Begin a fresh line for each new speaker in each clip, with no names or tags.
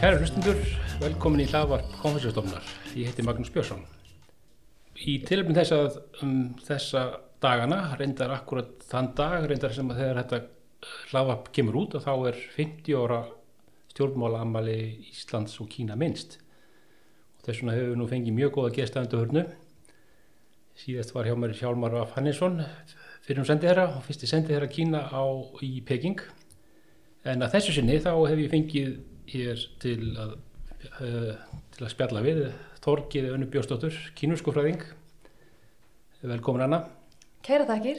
Kæra hlustundur, velkomin í hlaðvarp konfessjastofnar. Ég heiti Magnús Björnsson. Í tilöfnum þess að um, þessa dagana, reyndar akkurat þann dag, reyndar sem að þegar þetta eh, hlaðvarp kemur út og þá er 50 ára stjórnmálaamali Íslands og Kína minnst. Og þess vegna hefur við nú fengið mjög góða gestaðendu hörnu. Síðast var hjá mér Hjálmar Vaf Hannesson, fyrir um sendiherra og fyrsti sendiherra Kína á, í Peking. En að þessu sinni þá hef ég fengið hér til að, uh, til að spjalla við Þorgið Önnu Bjóstóttur, kínurskufræðing. Velkomin Anna.
Kæra takkir.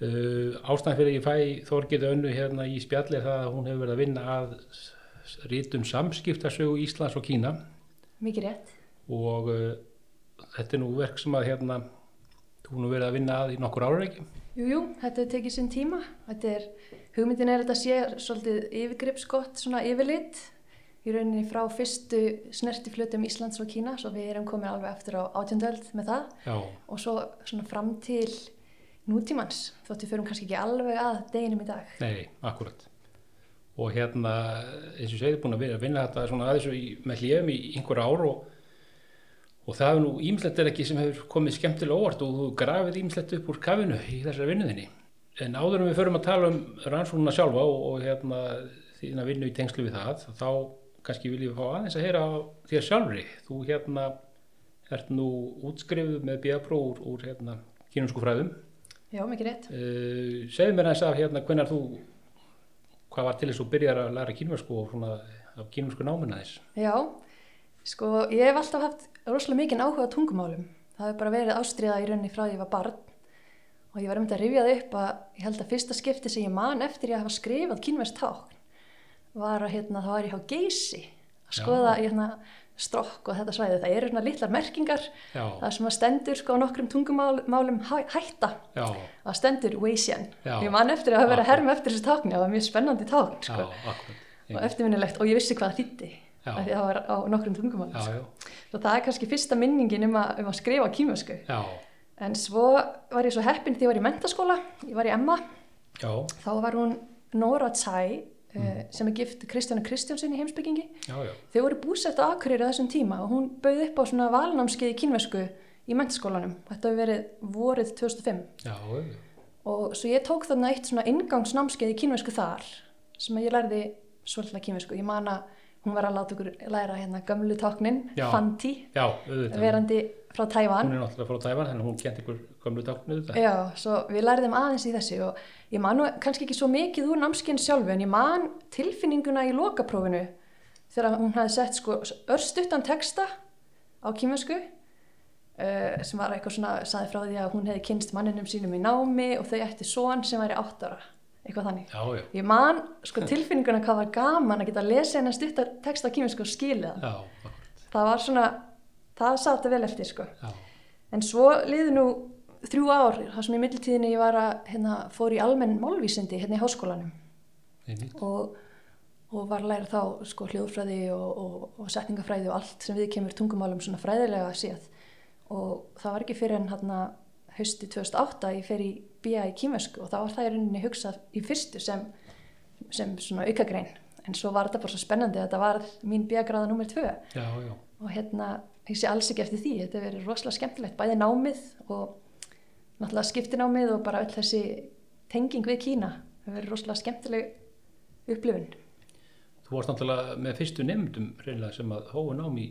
Uh, ástæðan fyrir að ég fæ Þorgið Önnu hérna í spjalli er það að hún hefur verið að vinna að s- s- ritum samskiptasögu Íslands og Kína
Mikið rétt.
og uh, þetta er nú verk sem að hérna hún hefur verið að vinna að í nokkur ára ekki.
Jú, jú, þetta hefur tekið sinn tíma. Þetta er, hugmyndin er að þetta sé svolítið yfirgripsgott, svona yfirlit. Í rauninni frá fyrstu snertiflutum Íslands og Kína, svo við erum komin alveg eftir á átjöndöld með það.
Já,
Og svo svona fram til nútímans, þótt við förum kannski ekki alveg að deginum í dag.
nei, akkurat. Og hérna, eins og ég segið, búin að vera að vinna þetta svona aðeins í, með hljöfum í einhver ár og Og það er nú ímslegt er ekki sem hefur komið skemmtilega óvart og þú grafið ímslegt upp úr kafinu í þessari vinnuðinni. En áður en við förum að tala um rannsóknuna sjálfa og, og hérna þína vinnu í tengslu við það, þá kannski viljum við fá aðeins að heyra á þér sjálfri. Þú hérna ert nú útskrifuð með bíapróf úr, úr hérna kínumsku fræðum.
Já, mikið rétt.
Uh, segðu mér aðeins af hérna hvernig þú, hvað var til þess að þú byrjar að læra kínumsku og svona af kínumsku námuna þess?
Já, sko, ég hef alltaf haft rosalega mikinn áhuga á tungumálum. Það hefur bara verið ástriða í rauninni frá því ég var barn. Og ég var um þetta að rifja það upp að ég held að fyrsta skipti sem ég man eftir ég að hafa skrifað kínverst tákn var að hérna, það var ég hjá geysi að
Já.
skoða hérna, strokk og þetta svæði. Það eru svona litlar merkingar,
Já,
það sem að stendur sko á nokkrum tungumálum hæ, hætta.
já,
Það stendur Weisian.
Já.
Ég man eftir að hafa verið
Akkurat.
að herma eftir þessu tákni, það var mjög spennandi tákn
já,
sko.
akkurat.
og eftirminnilegt og ég vissi hvað það þýtti.
Já.
Af Því það var á nokkrum tungumálum.
Já,
sko.
já.
Svo það er kannski fyrsta minningin um að, um að skrifa kýmjösku.
Já,
En svo var ég svo heppin því ég var í mentaskóla, ég var í Emma,
já,
þá var hún Nora Tsai mm. sem er gift Kristjánu Kristjánsinni heimsbyggingi.
já, já,
Þau voru búsett á Akureyri á þessum tíma og hún bauð upp á svona valnámskeið í kynvesku í mentaskólanum. Þetta hefur verið vorið 2005
já, já,
og svo ég tók þarna eitt svona inngangsnámskeið í kynvesku þar sem að ég lærði svolítið kynvesku. Ég man að hún var að láta okkur læra hérna gömlu táknin,
Já.
Fanti,
já, auðvitað.
verandi frá Tævan.
Hún er náttúrulega frá Tævan, þannig að hún kent ykkur gömlu táknu auðvitað.
Já, svo við lærðum aðeins í þessu og ég man nú kannski ekki svo mikið úr námskein sjálfu en ég man tilfinninguna í lokaprófinu þegar hún hafði sett sko örstuttan texta á kýmjösku uh, sem var eitthvað svona, saði frá því að hún hefði kynst manninum sínum í námi og þau ætti son sem væri átt ára, eitthvað þannig.
Já, já,
Ég man sko tilfinninguna hvað var gaman að geta að lesa hennar stuttan texta á kýmjösku og skilja það.
já, akkurat,
Það var svona, það sati vel eftir sko.
já,
En svo liði nú þrjú ár, þar sem í mittiltíðinni ég var að hérna, fór í almenn málvísindi hérna í háskólanum
einmitt,
og, og var að læra þá sko, hljóðfræði og, og, og setningafræði og allt sem við kemur tungumálum svona fræðilega séð. Og það var ekki fyrir en hérna hausti 2008 að ég fer í BIA í kýmösku og þá var það í rauninni hugsað í fyrstu sem, sem svona aukagrein. En svo var þetta bara svo spennandi að þetta var mín BIA gráða nummer 2
já, já,
og hérna, ég sé alls ekki eftir því þetta hefur verið rosalega skemmtilegt, bæði námið og náttúrulega skiptinámið og bara öll þessi tenging við Kína hefur verið rosalega skemmtileg upplifun
Þú varst náttúrulega með fyrstu nefndum reynilega sem að hófa nám í,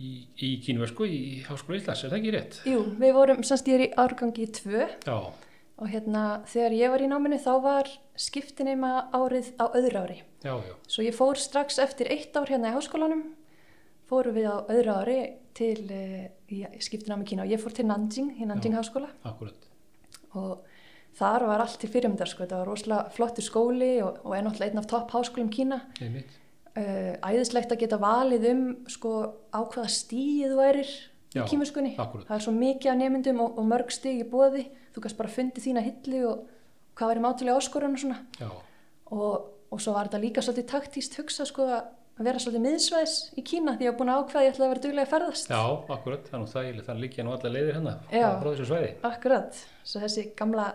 í, í kínversku í Háskóla Íslands, er það ekki rétt?
Jú, við vorum, semst ég er í árgangi 2
Já,
og hérna, þegar ég var í náminu þá var skiptinema árið á öðru ári
já, já,
svo ég fór strax eftir eitt ár hérna í háskólanum fórum við á öðru ári til uh, skiptinámi Kína og ég fór til Nanjing, í Nanjing
Já.
háskóla
akkurat,
og þar var allt til fyrirmyndar sko, þetta var rosalega flottur skóli og, og er náttúrulega einn af topp háskólum Kína
einmitt,
uh, æðislegt að geta valið um sko á hvaða stíi þú værir
Já,
í kímuskunni,
akkúrat.
það er svo mikið af nemyndum og, og mörg stíg í bóði þú gæst bara fundið þína hillu og hvað væri mátilega áskorun og svona
já,
og, og svo var þetta líka svolítið taktíst hugsa sko að vera svolítið miðsvæðis í Kína því ég var búin að ákveða að ég ætlaði að vera duglega að ferðast
já, akkurat, þannig það er þannig líkja nú alla leiðir hérna
Já.
frá þessu svæði.
Akkurat, svo þessi gamla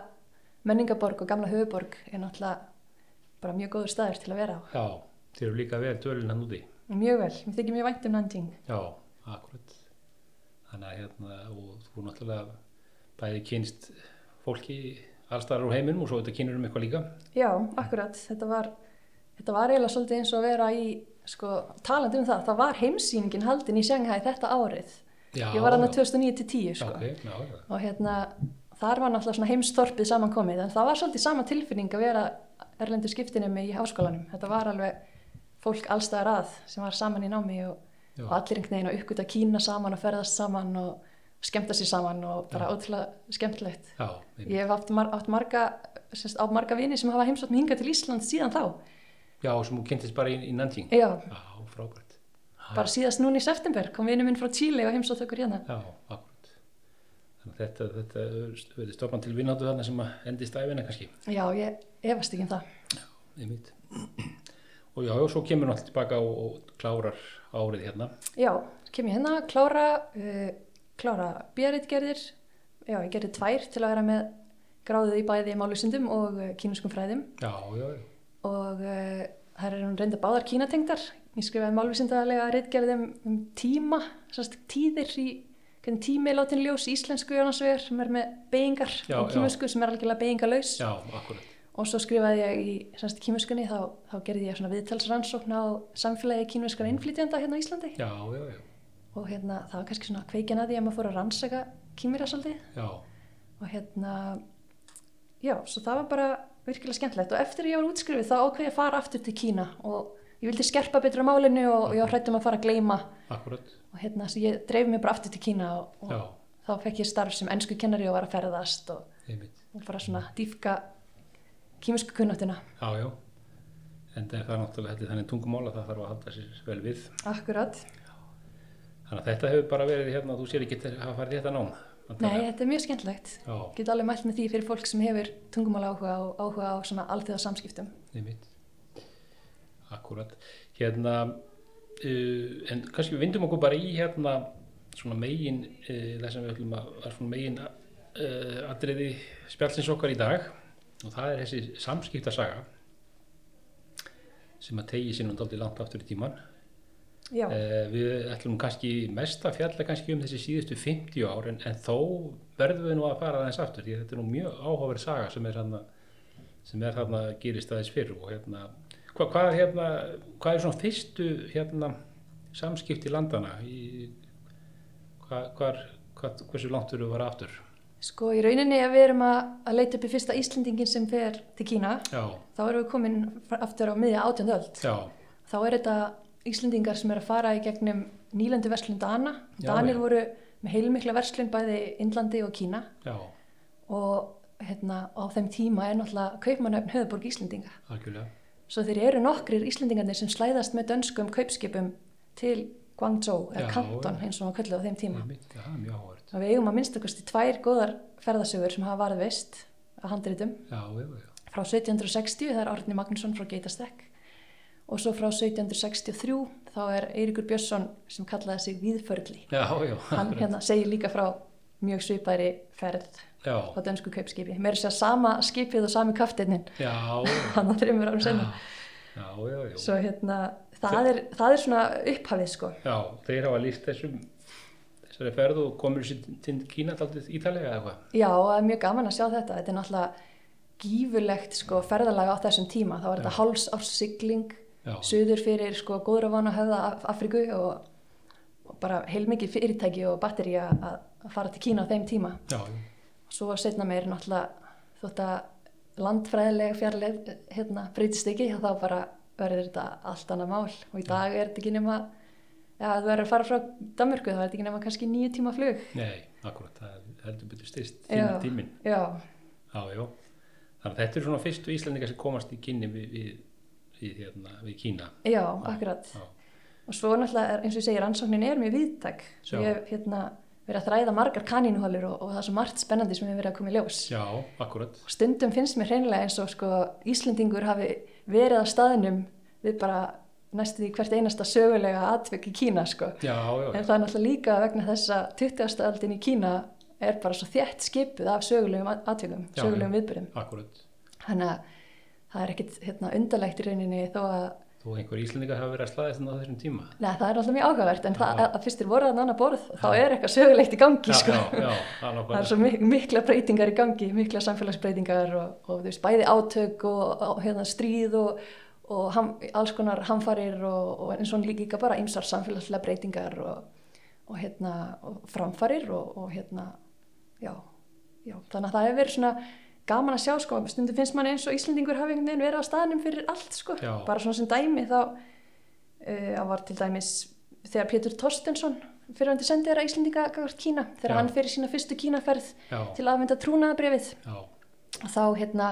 menningaborg og gamla höfuborg er náttúrulega bara mjög góður staður til að vera á.
Já, Þeir eru líka vel tölun hann úti.
Mjög vel, mér þykir mjög vænt um nanding.
Já, akkurat. Þannig að hérna, og þú náttúrulega bæði kynst fólki allstarar úr heiminum og svo þetta kynur um eitthvað líka.
Já, akkurat, þetta var, þetta var eiginlega svolítið eins og að vera í, sko, talandi um það, það var heimsýningin haldin í Shanghai þetta árið.
Já,
Ég var hann
já.
2009 til 10, sko.
Ok, já, já.
og hérna þar var náttúrulega svona heimstorpið samankomið en það var svolítið sama tilfinning að vera erlendur skiptinemi í háskólanum þetta var alveg fólk allstaðar að sem var saman í námi og,
Já.
og allir einhvern veginn að uppgöta Kína saman og ferðast saman og skemmta sér saman og bara ótrúlega skemmtilegt
Já, einmitt.
ég hef átt, mar átt marga sérst, á marga vini sem hafa heimsótt mig hingað til Ísland síðan þá
já, sem hún kynntist bara í, í Nanjing.
já,
Já, frábært.
bara síðast núna í september kom vinu minn frá Chile og heimsótt okkur hérna
Já, akkurat. Þannig að þetta, þetta verður stofan til vinnáttu þarna sem að endist æfina kannski.
já, ég efast ekki um það
Einmitt. Og já, og svo kemur náttúrulega tilbaka og, og klárar árið hérna.
Já, kem ég hérna, klára, uh, klára björitgerðir, já, ég gerði tvær til að vera með gráðið í bæði málusundum og uh, kínuskum fræðum
Já, já, já.
og uh, þær eru hún reynda báðar kínatengdar. Ég skrifaði málusundalega reitgerðum um tíma, sérst tíðir í hvernig tími er látin ljós í íslensku Jónasvegar sem er með beigingar
Já,
og
já.
kímusku sem er algjörlega beigingarlaus
Já, akkurat.
og svo skrifaði ég í sérst kímuskunni þá, þá gerði ég svona viðtalsrannsókn á samfélagi kínuskara innflytjanda hérna á Íslandi
Já, já, já.
og hérna það var kannski svona kveikjan að því að maður fór að rannsaka kýmira svolítið
Já,
og hérna já, svo það var bara virkilega skemmtilegt og eftir að ég var útskrifið þá ákveði ég að fara aftur til Kína og ég vildi skerpa betur á málinu og ég var hrættum að fara að gleyma
akkurat.
og hérna, svo ég dreif mig bara aftur til Kína og, og
Já,
þá fekk ég starf sem ennsku kennari og var að ferðast og,
einmitt.
og bara svona dýfka kýmisku kunnáttuna
Já, já. En það er náttúrulega þetta er þannig tungumál að það þarf að halda sér vel við.
Akkurat,
Þannig að þetta hefur bara verið hérna, þú sér ekki til að hafa farið í þetta nám.
nei, þetta er mjög skemmtilegt
Já,
Get alveg mælt með því fyrir fólk sem hefur tungumála áhuga og áhuga á svona alþjóða samskiptum
einmitt. Akkurat. Hérna, uh, en kannski við vindum okkur bara í hérna svona megin, uh, það sem við ætlum að var svona megin uh, atriði spjallins okkar í dag og það er þessi samskiptasaga sem að tegi sinum dálítið langt aftur í tíman.
Já,
Eh, við ætlum kannski mest að fjalla kannski um þessi síðustu 50 ár en, en þó verðum við nú að fara aðeins aftur því að þetta er nú mjög áhugaverð saga sem er þarna sem er þarna gerist aðeins fyrr og hérna hvað, hvað, hérna, hvað er svona fyrstu hérna samskipti landana í, hvað, hvar, hvað, hversu langt eru að fara aftur
Sko í rauninni ef við erum að, að leita upp í fyrsta Íslendingin sem fer til Kína
já,
þá erum við komin aftur á miðja átjöndöld.
já,
Þá er þetta Íslendingar sem er að fara í gegnum nýlendu verslun Dana.
Já,
Danir
já.
voru með heilmikla verslun bæði Indlandi og Kína
já,
og hérna, á þeim tíma er náttúrulega kaupmannöfn höfðborg Íslendinga.
algjörlega
Svo þeir eru nokkrir Íslendingarnir sem slæðast með dönskum kaupskipum til Guangzhou eða
Já,
Kanton
já.
eins og maður kölluð á þeim tíma.
Einmitt, já, það er mjög áhugaverð
Og við eigum að minnstakosti tvær góðar ferðasögur sem hafa varð veist að handritum
já, já, já,
frá 1760, það er Árni Magnússon frá Geitastek og svo frá 1763 þá er Eiríkur Björnsson sem kallaði sig Víðförli.
já, já,
Hann
akkurat.
hérna segir líka frá mjög svipaðri ferð
já,
á dönsku kaupskipi. Mér er sér sama skipið og sami kaftinnin,
já, já,
hann að þreymur árum senna.
já, já, já.
Svo hérna, það er, það er svona upphafið sko.
Já, þeir hafa lýst þessum þessari ferð og komur sér til Kína daldið ítalega eða eitthvað.
Já, og það er mjög gaman að sjá þetta. Þetta er náttúrulega gífurlegt sko, ferðalega á þessum tíma. Það var þetta háls árs sigling,
Já.
suður fyrir sko, góðravana höfða Af- Afríku og, og bara heilmikið fyrirtæki og batteri að að fara til Kína á þeim tíma.
Já,
Svo setna meir náttúrulega þótt að landfræðilega fjarlæg hérna, breytist ekki, þá bara verður þetta allt annað mál og í dag er þetta ekki nema, já, þú verður að fara frá Danmörku, þá er þetta ekki nema kannski nýju tíma flug.
nei, akkurat, það er heldur betur styrst
Já.
tíma tíminn.
Já,
Já, já. Þannig að þetta eru svona fyrstu Íslandingar sem komast í kynni við, við, við, hérna, við Kína.
já, akkurat.
Já,
Og svo náttúrulega, er, eins og ég segi, rannsóknin er mjög viðtæk. Svo
Já.
ég hef hérna, verið að þræða margar kanínuholur og, og það er svo margt spennandi sem hefur verið að koma í ljós.
já akkurat.
Og stundum finnst mér hreinlega eins og sko, Íslendingur hafi verið á staðnum við bara næstu því hvert einasta sögulega atvik í Kína. Sko.
Já, já,
En
já,
það er náttúrulega líka vegna þess að 20. aldin í Kína er bara svo þétt skipuð af sögulegum at- atvikum,
Já,
sögulegum
já.
viðbyrðum.
akkurat.
Þannig að það er ekkit hérna, undarlegt í rauninni þó að
Þó þó einhver íslendingar hafa verið að slaðast þarna á þessum tíma
Nei, það er alltaf mjög áhugavert en það
Já.
að fyrstir voru þannig annað borð þá er eitthvað sögulegt í gangi
já,
sko.
já, já, alveg
það er
bara
svo mik mikla breytingar í gangi, mikla samfélagsbreytingar og, og þú veist, bæði átök og, og hérna, stríð og, og ham, alls konar hamfarir og, og eins og líka líka bara ymsar samfélagslega breytingar og, og, hérna, og framfarir og, og hérna, já, já, þannig að það hefur verið svona gaman að sjá sko, stundum finnst mann eins og Íslendingur hafi einhvern veginn verið á staðnum fyrir allt sko,
Já.
bara svona sem dæmi þá Eh, Það var til dæmis þegar Pétur Torstensson fyrirvændi sendið þeirra Íslendinga gagvart Kína þegar
Já.
hann fyrir sína fyrstu Kínaferð
já,
til aðvenda trúnaðabrifið
já,
og þá hérna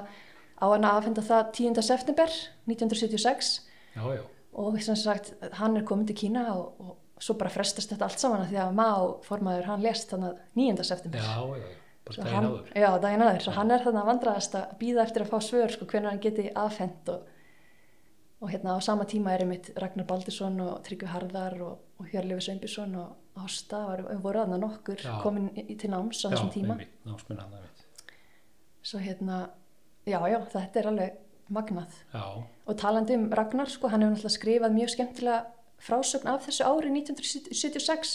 á hann að aðfenda það 10. september 1976
já, já,
og sem sagt hann er komin til Kína og, og svo bara frestast þetta allt saman af því að Mao formaður hann lest þannig 9.
já,
september
já, já, bara
Svo
daginn
hann,
áður
já, daginn áður, svo hann er þannig að vandraðast að býða eftir að fá svör sko, hvernig hann geti aðfend og, og hérna á sama tíma er einmitt Ragnar Baldursson og Tryggvi Harðar og, og Hjörlefi Sveinbjörnsson og Ásta var, voru aðna nokkur
Já.
komin í, til náms á þessum tíma
einmitt, námsmenn hann einmitt.
svo hérna, já, já, þetta er alveg magnað
já,
og talandi um Ragnar, sko, hann hefur náttúrulega skrifað mjög skemmtilega frásögn af þessu ári 1976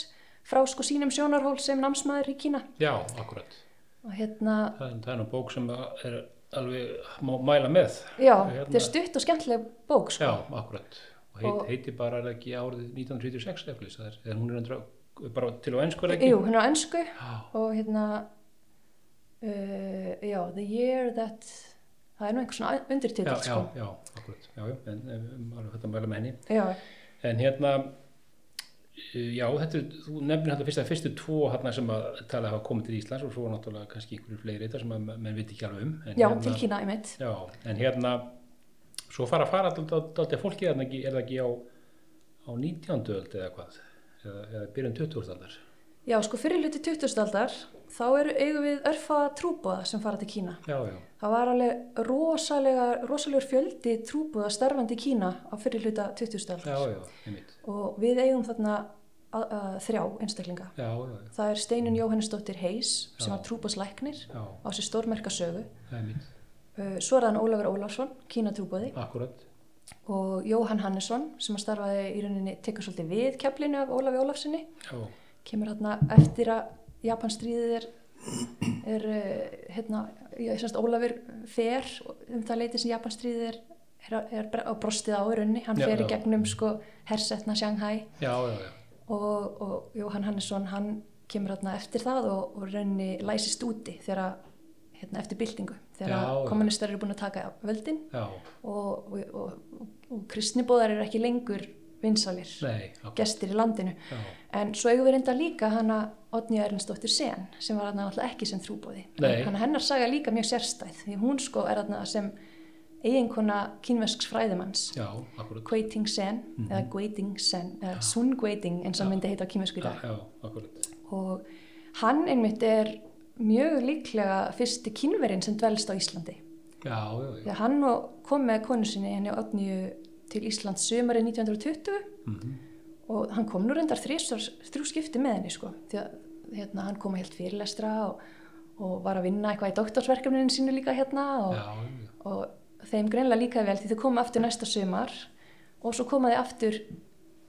frá sko sínum sjónarhól sem námsmaður í Kína
já, akkurat
og hérna,
það er, það er nú bók sem er alveg má mæla með
já,
Hérna-
þetta er stutt og skemmtileg bók, sko
já, akkurat og, heit,
Og-
heiti bara er það ekki árið 1976 eflis, það er, er hún er andra, bara til á ennsku er það ekki
Jú, hún er á ennsku
já,
og hérna uh, já, the year that það er nú einhver svona
já,
undirtitill
já,
sko.
já, akkurat já, já, en, en, um, en alveg þetta mæla með henni
já,
En hérna, uh, já, þetta, er- þú nefnir hérna fyrst að fyrstu tvo hérna sem að tala hafa komið til Íslands og svo náttúrulega kannski einhverju fleiri þetta sem að menn- menn viti ekki alveg um. En
já,
hérna,
til Kína einmitt
Já, en hérna, svo fara að fara alltaf fólkið þarna ekki, er það ekki á, á 19. öld eða hvað, eða, eða byrjun 20. aldar.
já, sko fyrir hluti 20. aldar þá eru eigum við örfa trúbúða sem fara til Kína
Já, já,
það var alveg rosalega rosalegur fjöldi trúbúða starfandi í Kína á fyrir hluta 20. aldar
já, já, einmitt.
og við eigum þarna að, að, þrjá einstaklinga
Já, já, já,
það er Steinun Jóhannesdóttir Heis sem
Já.
var trúbúðslæknir
já,
á sér stórmerka sögu
einmitt,
Uh, Svo er þann Ólafur Ólafsson, Kína trúbóði
akkurat,
og Jóhann Hannesson sem að starfaði í rauninni tekur svolítið við keflinu af Ólafi Ólafssoni
já,
kemur hérna eftir að Japanstríðið er, er uh, hérna, ég semst Ólafur fer um það leiti sem Japanstríðið er, er, á- er bre- á brostið á í rauninni, hann
Já,
fer í
já.
gegnum sko hersetna Shanghai
já, já, já,
og, og Jóhann Hannesson hann kemur hérna eftir það og, og raunni læsist úti þegar að, hérna, eftir byltingu þegar
Já,
að
já.
kommunistar eru búin að taka völdin
já,
og, og, og, og kristnibóðar eru ekki lengur vinsalir
nei, akkurat,
gestir í landinu
já,
en svo eigum við reynda líka hana Odnja Ernsdóttir Sen sem var hann alltaf ekki sem trúbóði
Nei.
hann hennar saga líka mjög sérstæð því hún sko er hann sem eiginkona kínvesks fræðimanns
já, akkurat,
Guiting Sen eða Guiting Sen eða Sun Guiting eins og
Já.
myndi heita á kínvesku í
já,
dag
já, akkurat,
og hann einmitt er mjög líklega fyrsti kínverinn sem dvelst á Íslandi
já, já, já,
Já, hann og- kom með konu sinni henni Otniu til Íslands sömari 1920
mhm.
og hann kom nú reyndar þrísar, þrjú skipti með henni sko. því að hérna, hann kom að helt fyrirlestra og, og var að vinna eitthvað í doktorsverkefninu sínu líka
já,
hérna og,
já, já.
og þeim greinlega líka vel því þau komu aftur næsta sömar og svo koma þau aftur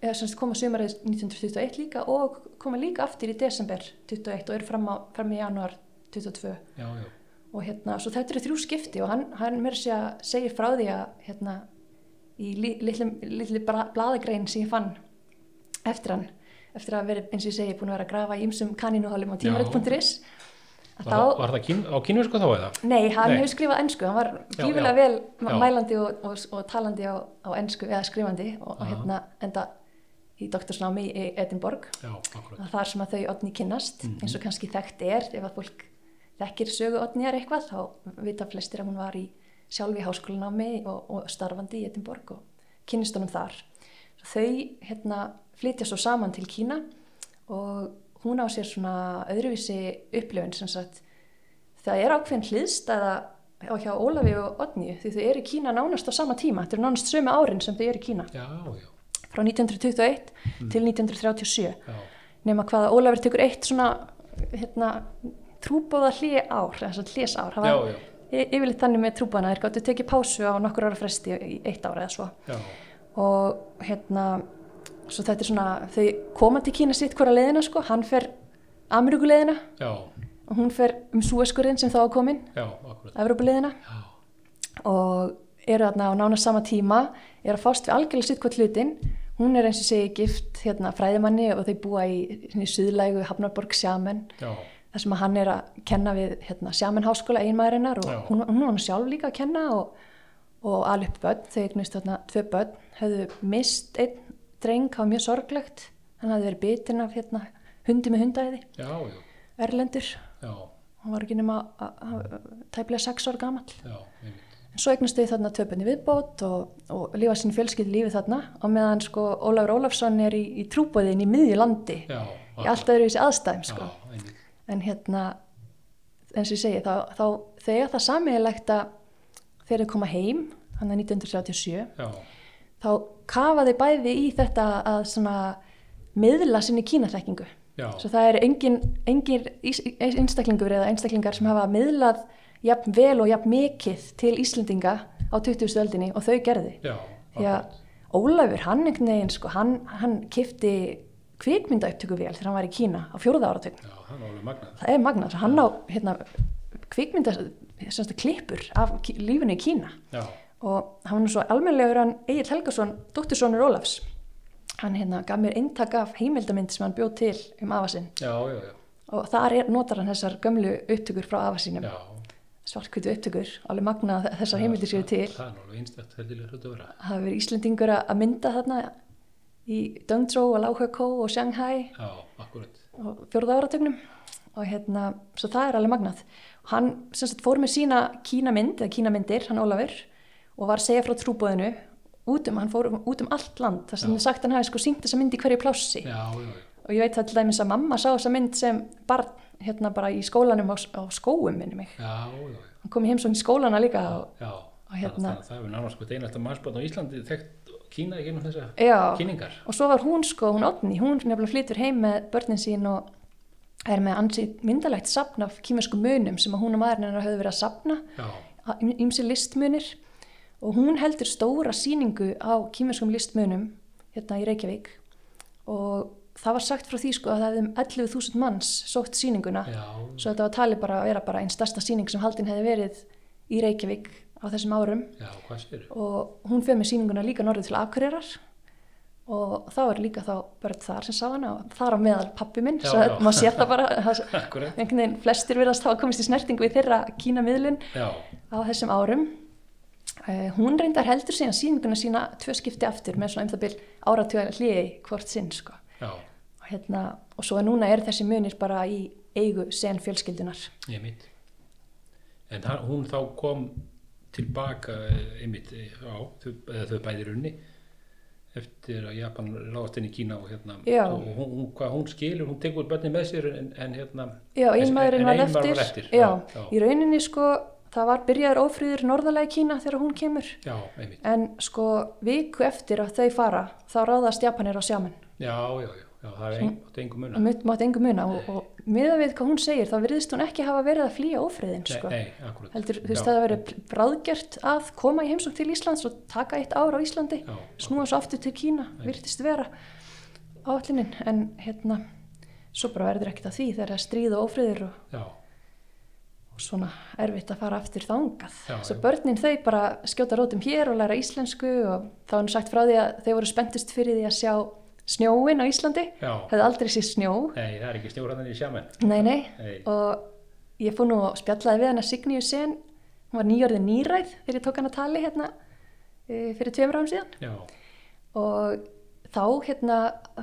eða sem sagt koma sömarið 1921 líka og koma líka aftur í desember 21 og eru fram, á, fram í januar 22
Já, já,
og hérna, svo þetta eru þrjú skipti og hann, hann mér sé að segja frá því að hérna, í li- litlum- litli bra- blaðagrein sem ég fann eftir hann, eftir að verið eins og ég segi, búin að vera að grafa í ymsum kanínuhálum á
Já.
tímarit.is að
var, það,
þá,
var það kín, á kínversku þá eða?
nei, hann
Nei.
hefur skrifað ennsku, hann var
Já,
gífilega
já.
vel
Já.
mælandi og, og, og talandi á, á ennsku, eða skrifandi og, og
Aha.
hérna enda í doktorsnámi í Edinborg
Já, akkurat,
að þar sem að þau odni kynnast eins og kannski þekkt er ef að fólk þekkir sögu odnjar eitthvað þá vita flestir að hún var í sjálfi háskólanámi og, og starfandi í Edinborg og kynnist honum þar svo þau hérna flytja svo saman til Kína og hún á sér svona öðruvísi upplifun sem sagt það er ákveðin hliðstæða á hjá Ólafi og Odni því þau eru í Kína nánast á sama tíma þetta eru nánast sömu árin sem þau eru í Kína
já, já,
frá 1921 til 1937
já,
nema hvað að Ólafur tekur eitt svona hérna, trúbóða hlið ár, þess að hliðs ár
já, já,
yfirleitt þannig með trúbóðana, þeir gáttu tekið pásu á nokkur ára fresti í eitt ára eða svo
já,
og hérna svo þetta er svona, þau koma til Kína sitt hvora leiðina sko, hann fer Ameríkuleiðina
já,
og hún fer um Súeskurinn sem þá er komin,
já, akkurat.
Evrópuleiðina
Já,
og eru þarna á nána sama tíma er að fást við algjörlega sitt hvort hlutin hún er eins og segi gift hérna, fræðimanni og þau búa í, í suðlægu Hafnarborg Sjamen
já,
þar sem að hann er að kenna við hérna, Sjamen háskóla einmaðurinnar og
Já.
hún, hún var hann sjálf líka að kenna og, og alveg upp börn, þau eignist þarna tvö börn, höfðu mist einn dreng, það var mjög sorglegt hann hafði verið bitin af hérna, hundi með hundæði,
já, já,
erlendur
já,
hann var ekki nema að- að- að- tæplega sex ára gamall
já, einmitt.
En svo eignast þau þarna töpunni viðbót og, og lifa sín fjölskyld lífi þarna og meðan sko Ólafur Ólafsson er í, í trúbóðin í miðju landi í
Já,
allt öðru þessi aðstæðum sko.
Já, einmitt.
En hérna, eins og ég segi, þá, þá þegar það sammeðilegt að þegar þau koma heim, hann er 1937,
Já,
þá kafaði bæði í þetta að svona miðla sinni kínaþekkingu.
já,
Svo það eru engin, engin ís- einstaklingur eða einstaklingar sem hafa miðlað jafn vel og jafn mikið til Íslendinga á 20. öldinni og þau gerði.
já,
Því að Ólafur, hann einhvern veginn, sko, hann, hann kifti kvikmyndaupptöku vel þegar hann var í Kína á fjórða áratögn.
Já, það er alveg magnað.
Það er magnað, hann á hérna, kvikmynda, semst að klippur af ki- lífinu í Kína
Já,
og hann var nú svo almennilegur hann Egil Helgason, dóttursonur Ólafs. Hann hérna gaf mér eintak af heimildamynd sem hann bjóð til um afa sinn
já, já, já,
og þar er, notar hann þessar gömlu upptökur frá afa sínum,
já.
svartkvítu upptökur alveg magna að þessar heimildir séu til
Það er alveg einstætt heldilega hlut að vera.
það hafa verið Íslendingur að að mynda þarna í Döngtró og Láhökó og Shanghai
Já, akkurat.
og fjórða áratögnum og hérna, svo það er alveg magnað og hann sem sagt fór með sína kínamynd eða kínamyndir, hann Ólafur og var að segja frá trúbóðinu út um, hann fór um, út um allt land þar sem
Já.
þið sagt hann hafi sko syngt þessa mynd í hverju plássi
Já, já, já.
og ég veit það til dæmis að mamma sá þessa mynd sem barn hérna bara í skólanum á, á skóum minni mig
Já, já, já.
hann kom í heimsókn í skólana líka og,
Já,
hérna-
það, það, það hefur nánast hvort einasta mannsbótt á Íslandi þekkt Kína í gennum þessa
já,
kynningar.
og svo var hún sko, hún Otni, hún nefnilega flytur heim með börnin sín og er með ansið myndalegt sapn af kýmersku munum sem að hún og maðurinn hennar höfðu verið að sapna
Já,
ímsi listmunir og hún heldur stóra síningu á kýmerskum listmunum hérna í Reykjavík og það var sagt frá því sko að það hefði um 11.000 manns sótt síninguna
já,
svo þetta var talið bara að vera bara einn stærsta síning sem haldin hefði verið í Reykjavík á þessum árum
já, hvað séru?
og hún fyrir með síninguna líka norður til Akureyrar og þá er líka þá börn þar sem sá hana og þar á meðal pappi minn
Já,
svo
já.
maður sér það bara það-
Akkurat.
einhvern veginn flestir virðast hafa komist í snertingu við þeirra kínamiðlun
Já,
á þessum árum uh, hún reyndar heldur síðan síninguna sína tvö skipti aftur með svona um það byrj áratuga hliði hvort sinn sko.
já,
og, hérna, og svo núna er þessi munir bara í eigu sen fjölskyldunar
ég mitt. En hann, hún þá kom tilbaka, eh, einmitt, já, þau, eða þau bæði runni eftir að Japan lágast inn í Kína og hérna,
Já.
og hún, hún, hvað hún skilur, hún tekur börnin með sér en, en hérna,
já,
En-
einmaðurinn
en
var
eiginmaður
eftir,
var eftir,
Já,
já, já.
í rauninni sko það var byrjaður ófrýður norðalega í Kína þegar hún kemur
já, einmitt,
en sko viku eftir að þau fara þá ráðast Japanir á sjáminn
já, já, já, já það er ein, átti engum
og
munar.
mutt mátt engum muna og, og miða við hvað hún segir þá virðist hún ekki hafa verið að flýja ófrýðin sko.
Nei, nei, akkurat.
heldur, þú veist,
Já,
það að vera bráðgjört að koma í heimsókn til Íslands og taka eitt ár á Íslandi,
Já,
snúa svo aftur til Kína, virtist vera áallinin, en hérna, svo bara verður ekkert að því þegar það er stríð og ófriður og,
Já,
og svona erfitt að fara aftur þangað.
Já,
svo
já.
börnin þau bara skjóta rótum hér og læra íslensku og þá er nú sagt frá því að þau voru spenntust fyrir því að sjá snjóin á Íslandi,
já,
hefði aldrei séð snjó,
nei, það er ekki snjóraðan í sjaman.
nei, nei,
Nei,
og ég fór nú og spjallaði við hana Signýju sen, hún var nýjörðin nýræð þegar ég tók hana tali hérna eh, fyrir tveimur árum síðan
já,
og þá hérna,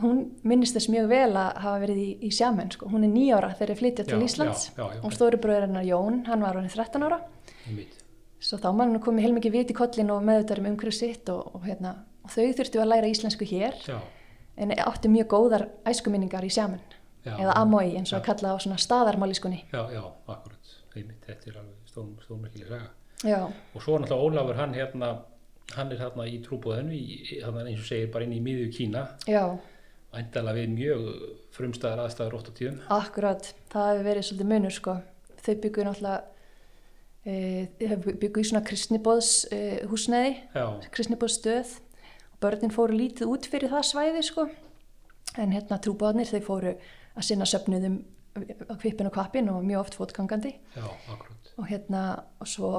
hún minnist þess mjög vel að hafa verið í, í sjaman sko, hún er nýjára þegar ég flytja til
Já,
Íslands
já, já, já.
og stóri bróður hennar Jón, hann var hann 13 ára
einmitt,
svo þá mann komið heilmikið vit í kollin og meðvitaður um umhverju sitt og, og, hérna, og þau þurftu að læra íslensku hér
já,
en áttu mjög góðar æskuminningar í sjaman
Já.
eða amói eins og
Já.
að kalla á svona staðarmálískunni
já, já, akkurat, einmitt, þetta er alveg stórm- stórmerkileg saga.
já,
Og svo er náttúrulega Ólafur, hann hérna, hann er þarna í trúbúðinu, í, þarna eins og segir bara inn í miðju Kína,
já
ændala við mjög frumstæðar aðstæður ótt á tíðum.
Akkurat, það hefur verið svolítið munur sko. Þau byggu náttúrulega, e, byggu í svona kristnibóðs e, húsneiði,
Já,
kristnibóðsstöð börnin fóru lítið út fyrir það svæði sko. en hérna trúbáðnir þeir fóru að sinna söpnuðum á kvipin og kvapin og mjög oft fótgangandi
já, akkurat.
og hérna og svo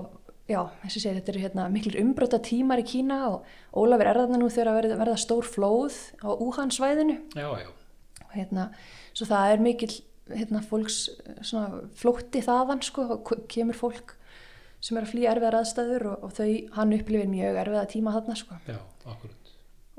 já, eins og segir þetta eru hérna miklir umbrota tímar í Kína og Ólafur er þarna nú þegar að verða, verða stór flóð á Wuhan svæðinu
Já, já,
og hérna, svo það er mikill hérna fólks svona flótti þaðan sko, og k- kemur fólk sem er að flýja erfiðar aðstæður og, og þau, hann upplifir mjög erfiða tíma þarna sko.
já, akkurat.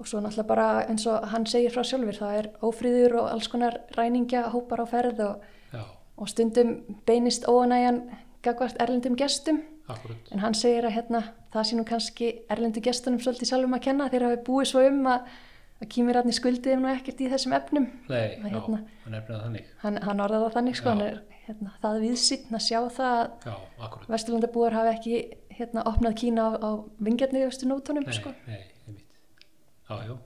og svo náttúrulega bara eins og hann segir frá sjálfur, það er ófríður og alls konar ræningja hópar á ferð og,
Já,
og stundum beinist óanægjan gagvart erlendum gestum
akkurat.
en hann segir að hérna, það sé nú kannski erlendu gestunum svolítið sjálfum að kenna þeir hafi búið svo um að, að kýmirarni skuldið þeim nú ekkert í þessum efnum
Nei, já,
Að hérna-
hann er bara þannig.
hann, hann orðaði það þannig sko,
Já.
hann er hérna, það viðsittn að sjá það að
Já, akkurat.
Vesturlandabúar hafi ekki hérna, opnað Kína á, á vingjarniðustu nótunum
Nei,
sko.
nei, einmitt. Já, já.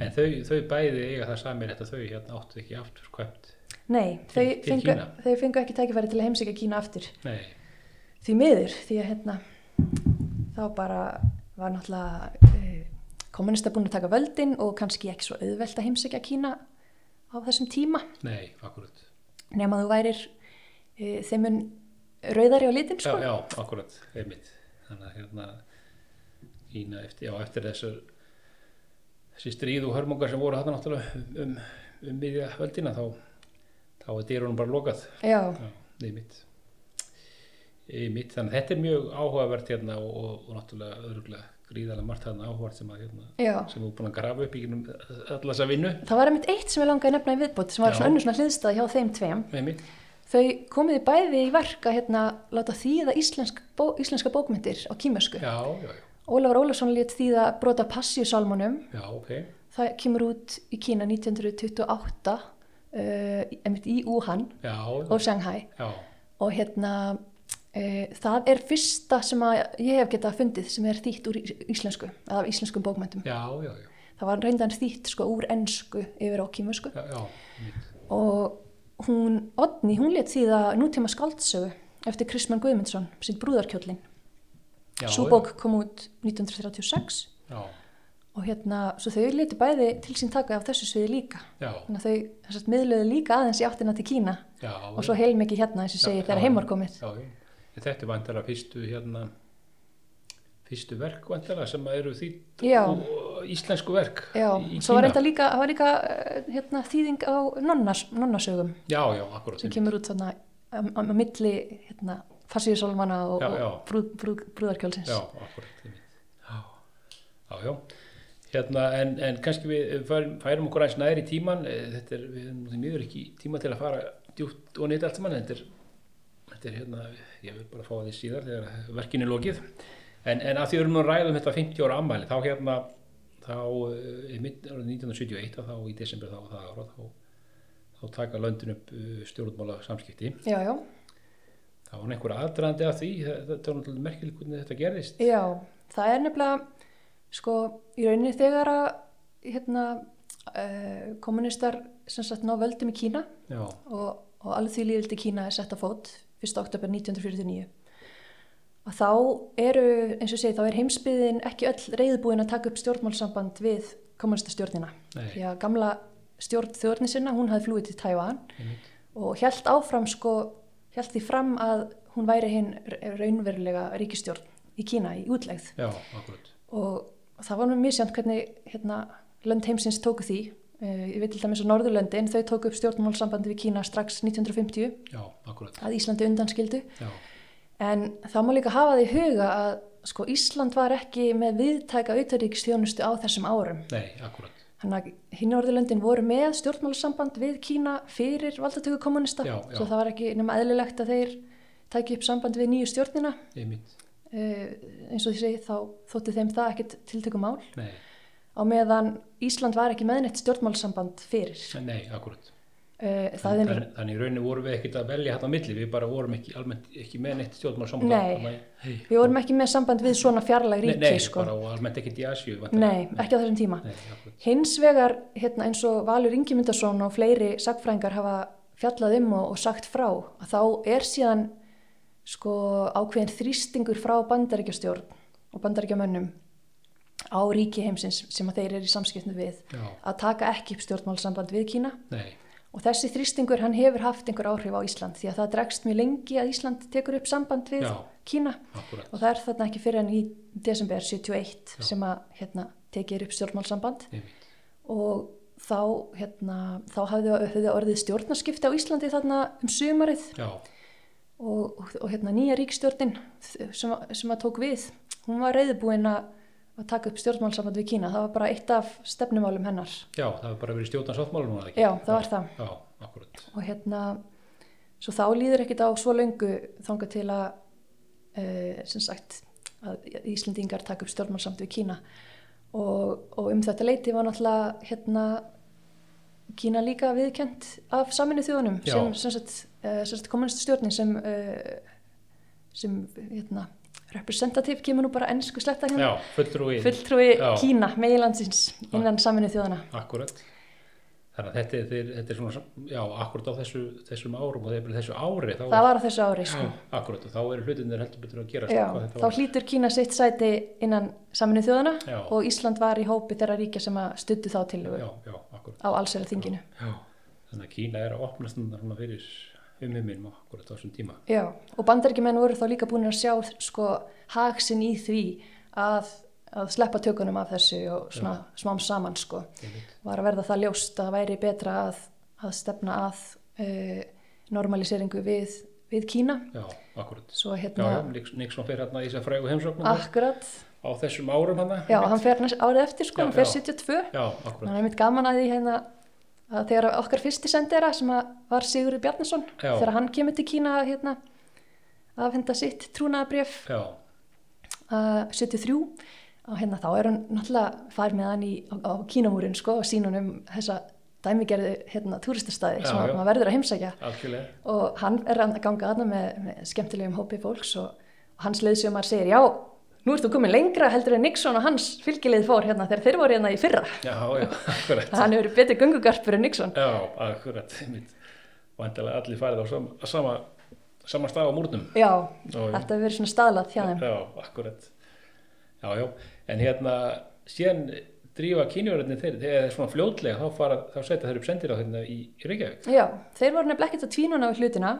En þau, þau bæði eiga það samir þetta þau hérna áttu ekki aftur kvæmt.
Nei, þau,
Til- til
fengu,
Kína.
þau fengu ekki tækifæri til að heimsækja Kína aftur
Nei,
því miður, því að hérna, þá bara var náttúrulega eh, kommunista búin að taka völdin og kannski ekki svo auðvelt að heimsækja Kína á þessum tíma
nei, akkurat.
nema þú værir e, þeimun rauðari á litin
Já,
sko.
já, akkurat, einmitt. Þannig að hérna Kína eftir, já, eftir þessar þessi stríð og hörmungar sem voru þarna náttúrulega um, um, um miðja öldina þá, þá er dyrunum bara lokað.
já.
Já, einmitt. Einmitt, þannig að þetta er mjög áhugavert hérna og, og, og náttúrulega öðruglega gríðarlega margt þarna áhugavert sem að hérna
Já.
sem þú er búin að grafa upp í gennum alla þessa vinnu
Það var einmitt eitt sem ég langaði að nefna í viðbót sem var
Já.
svona önnur svona hliðstæð hjá þeim tveim.
einmitt,
Þau komiði bæði í verk að hérna, láta þýða íslensk, bó, íslenska bókmyndir á kímersku.
já, já, já,
Ólafur Ólafsson létt þýða brota passíusálmunum.
já, ok
Það kemur út í Kína 1928, uh, einmitt í Wuhan
já,
og Shanghai.
já,
Og hérna, uh, það er fyrsta sem að ég hef getað fundið sem er þýtt úr í- íslensku, eða af íslenskum bókmyndum.
já, já, já,
Það var reyndan þýtt sko úr ensku yfir á kímersku.
já, já, einmitt,
og hún, Odni, hún let þýða nútíma skáldsögu eftir Kristmann Guðmundsson, sín brúðarkjóllin.
já,
Sú bók kom út 1936
já,
og hérna, svo þau letu bæði til sín taka af þessu sviði líka.
já,
Þannig að þau þess að miðluðu líka aðeins í áttina til Kína
já,
og svo heilmikið hérna, eins og segir, þegar heim var komið.
já, já, En þetta er vantarlega fyrstu hérna fyrstu verk vantarlega sem að eru þýtt
Já.
og- íslensku verk
Já,
í
svo var
Kína.
þetta líka, það var líka eh, hérna, þýðing á nonnas, nonnasögum
já, já, akkurat,
sem kemur út þarna á, á, á milli hérna, farsíðusálmana og,
Já, já.
og brúð, brúð, brúðarkjólsins.
Já, akkurat, einmitt. Já, já, já. Hérna, en, en kannski við færum, færum okkur aðeins næri tíman, Eh, þetta er, við erum nú því miður ekki tíma til að fara djúpt og neitt allt saman, þetta er, þetta er hérna, ég vil bara fá því síðar þegar verkinu er lokið. En, en að því við erum nú að ræða um þetta 50 ára ammæli, þá hérna, þá, eh, einmitt árið 1971 og þá í desember þá, það ára, þá, þá taka löndin upp stjórnmála samskipti.
Já, já.
Það var nú einhver aðdraðandi að því, það- þetta var náttúrulega merkilegt hvernig þetta gerðist.
Já, það er nefnilega sko í rauninni þegar að hérna uh, kommunistar sem sagt ná völdum í Kína
Já,
og, og alveg því líðildi Kína er sett á fót 1. oktober 1949 að þá eru eins og segi þá er heimsbyðin ekki öll reyðbúin að taka upp stjórnmálsamband við kommunistastjórnina
Nei.
því að gamla stjórn þjórni sinna hún hafði flúið til Tævan
einmitt.
og held áfram sko, held því fram að hún væri hinn raunverulega ríkistjórn í Kína í útlegð
Já, akkurat.
og það var nú mjög sjönd hvernig hérna, lönd heimsins tóku því uh, ég veit til dæmis að Norðurlöndin þau tóku upp stjórnmálsambandi við Kína strax 1950
Já, akkurat.
að Íslandi undanskildu
Já,
en það má líka hafa því huga að sko, Ísland var ekki með viðtæka auðvitaðríkistjónustu á þessum árum
nei, akkurat.
Þannig að hinn orðilöndin voru með stjórnmálasamband við Kína fyrir valdatöku kommunista.
Já, já.
Svo það var ekki nema eðlilegt að þeir tæki upp samband við nýju stjórnina.
Einmitt.
Uh, eins og því segi þá þótti þeim það ekkit tiltökum mál.
Nei,
Á meðan Ísland var ekki með neitt stjórnmálasamband fyrir.
nei, akkurat.
Uh, það
Þannig,
er,
þannig, þannig í rauninni vorum við ekkert að velja þetta á milli, við bara vorum ekki, almennt, ekki með neitt stjórnmál saman.
Nei.
Hey.
við vorum ekki með samband við svona fjarlæg
Nei,
ríki.
nei
sko.
bara og almennt ekkert í Asju.
nei, ekki á þessum tíma.
Nei, akkurat.
Hins vegar, hérna, eins og Valur Ingimundarsson og fleiri sagfræðingar hafa fjallað um og, og sagt frá að þá er síðan sko, ákveðin þrýstingur frá bandaríkjastjórn og bandaríkjamönnum á á ríki heimsins sem að þeir eru í samskiptum við
Já.
að taka ekki upp stjórnmálsamband við Kína
Nei,
og þessi þrýstingur hann hefur haft einhver áhrif á Ísland því að það dregst mjög lengi að Ísland tekur upp samband við
Já.
Kína
akkurat.
og það er þarna ekki fyrir en í desember 71 sem að hérna, tekir upp stjórnmálsamband
Einmitt.
og þá, hérna, þá hafði, hafði orðið stjórnarskipti á Íslandi þarna um sumarið
Já,
og, og, og hérna nýja ríkstjórnin sem, að- sem að tók við hún var reyðbúin að að taka upp stjórnmálsamband við Kína, það var bara eitt af stefnumálum hennar
já, það hefur bara verið stjórnars áttmála núna, eða ekki?
Já, það var það.
Já, akkurat.
og hérna svo þá líður ekkit á svo löngu þanga til að uh, sem sagt að Íslendingar taka upp stjórnmálsamband við Kína og, og um þetta leiti var náttúrulega hérna Kína líka viðkent af saminu þjóðunum
Já.
sem, sem sagt, uh, sem sagt kommunistu stjórnin sem uh, sem hérna representativ kemur nú bara ennsku sletta
Já,
hérna
fulltrúi.
fulltrúi
Já.
Kína meginlandsins innan saminu þjóðuna
Akkurat. Þannig að þetta, er- þeir- þetta er svona, sam- já, akkurat á þessu, þessum árum og þegar þessu ári. Þá
það var á þessu ári sko
Já, akkurat, og þá eru hlutinir heldur betur að gera.
Já, þá hlýtur Kína sitt sæti innan saminu þjóðana
Já.
og Ísland var í hópi þeirra ríkja sem að studdu þá tillögu
Já, já, akkurat.
á allsera þinginu.
Já. Þannig að Kína er að opna stundar fyrir umheiminum akkurat á þessum tíma.
Já, og bandaríkjumenn voru þá líka búin að sjá sko haksinn í því að, að sleppa tökunum af þessu og svona smám saman sko.
Einmitt.
Var að verða það ljóst að það væri betra að, að stefna að uh, normaliseringu við, við Kína.
Já, akkurat.
Svo
Já, já,
hérna,
Nix- Nixon fer hérna í þess að frægu heimsóknum
akkurat,
á þessum árum hann.
Ah. já, hann fer næst- árið eftir sko,
Já,
hann fer
já.
72.
Já, akkurat.
Það er mitt gaman að því hérna að þegar okkar fyrsti sendera sem að var Sigurður Bjarnason
Já.
þegar hann kemur til Kína að, hérna, að henda sitt trúnaðabrjöf
Já,
uh, 73 og hérna þá er hann náttúrulega farið með hann í, á, á Kínamúrin sko og sín hann um þessa dæmigerðu hérna, túristastæði
Já,
sem að
já.
maður verður að heimsækja
algjörlega.
og hann er að ganga aðna með, með skemmtilegum hópi fólks og, og hans leiðsjómar segir já, nú ert þú komin lengra heldur en Nixon og hans fylgilið fór hérna þegar þeir voru hérna í fyrra
Já, já, akkurat.
Hann hefur verið betri gungugarpur en Nixon.
Já, akkurat, einmitt. Vandilega allir farið á sama, sama, sama stað á múrnum.
Já,
Já, já.
þetta hefur verið svona staðlað hjá þeim.
Já, akkurat. Já, já, en hérna, síðan drífa kínjóðurinn þeir, þegar svona fljótlega, þá, fara, þá setja þeir upp sendir á þeirna í í Reykjavík.
Já, þeir voru nefnilega ekkert að tvínuna við hlutina.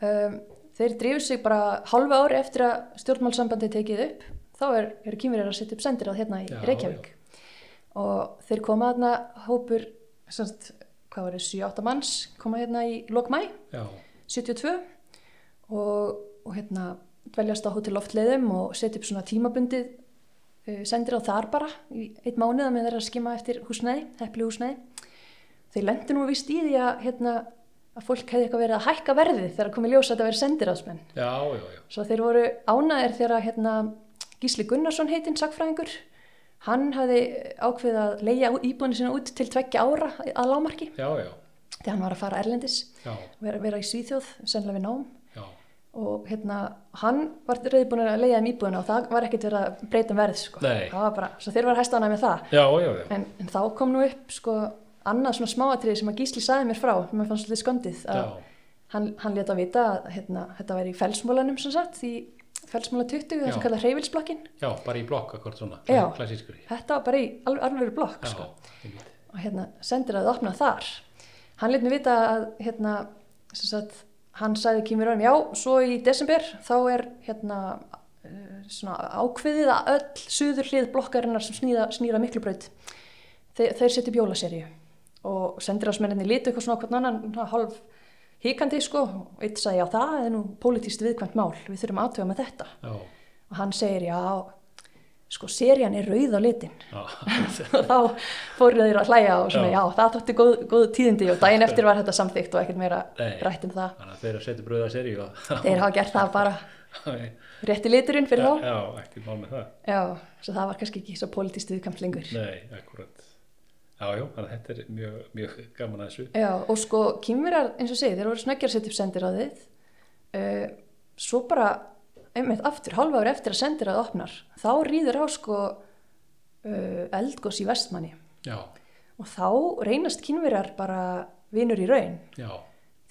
Um, þeir drifur sig bara hálfa ári eftir að stjórnmálsambandi tekið upp. Þá er, eru kýmverjar að setja upp sendir á hérna í
Já,
Reykjavík. Og þeir koma þarna hópur, semst, hvað var þetta, 7-8 manns, koma hérna í lokmæ,
Já,
72 og, og hérna dveljast á hótel loftleiðum og setja upp svona tímabundið uh, sendir á þar bara í eitt mánuð að með þeirra að skima eftir húsnæði, heppli húsnæði þeir lendu nú vist í því að hérna að fólk hefði eitthvað verið að hækka verðið þegar að komi ljós að þetta verið sendiráðsmenn
já, já, já.
svo þeir voru ánæðir þegar að hérna Gísli Gunnarsson heitinn sakfræðingur hann hafði ákveðið að leigja íbúinu sína út til tveggja ára að lámarki
Já, já,
þegar hann var að fara erlendis
já,
vera, vera í Svíþjóð, sennilega við nám
já,
og hérna, hann var reyðbúin að leiða um íbúðina og það var ekkert verið að breyta um verð sko.
Nei.
það var bara, svo þeir var hæstana með það
já, já, já.
en, en þá kom nú upp sko annað svona smáatriði sem að Gísli sagði mér frá sem mér fannst svolítið skondið að
Já,
hann, hann leta að vita að hérna, þetta væri í felsmólanum sem sagt, í felsmóla 20 það
Já.
sem kallað hreyfilsblokkin
já, bara í blokk akkord svona,
Já.
klassískri.
þetta var bara í alv alveg blokk
Já,
sko.
einmitt.
og hérna sendir að það opna þar hann leit mér vita að hérna, sem sagt, hann sagði kýmur önum já, svo í desember þá er hérna eh, svona ákveðið að öll suður hlið blokkarinnar sem snýða, snýra miklubraut þeir, þeir setja upp jólaserju og sendir ásmenninni litu eitthvað svona hvern annan svona hálf híkandi sko og eitt sagði já það er nú pólitíst viðkvæmt mál við þurfum að aðtöga með þetta
Já,
og hann segir já sko serjan er rauð á litin
já,
og þá fóru þeir að hlæja og svona
Já.
já, það þótti góð, góð tíðindi og daginn eftir var þetta samþygt og ekkert meira
Nei.
rætt um það.
þannig að þeir að setja bröða seri og...
Þeir hafa gert það bara rétti liturinn fyrir þá.
Já, ekki mál með það.
Já, svo það var kannski ekki svo pólitískt viðkamt lengur.
Nei, akkurat. Já, já, þannig að þetta er mjög, mjög gaman að þessu.
Já, og sko kýmverar, eins og segið, þeir voru snöggjar að setja upp sendiráðið, uh, svo bara, einmitt aftur, halva ári eftir að sendiráðið opnar, þá rýður á sko uh, eldgós í vestmanni
Já,
og þá reynast kýmverar bara vinur í raun.
já,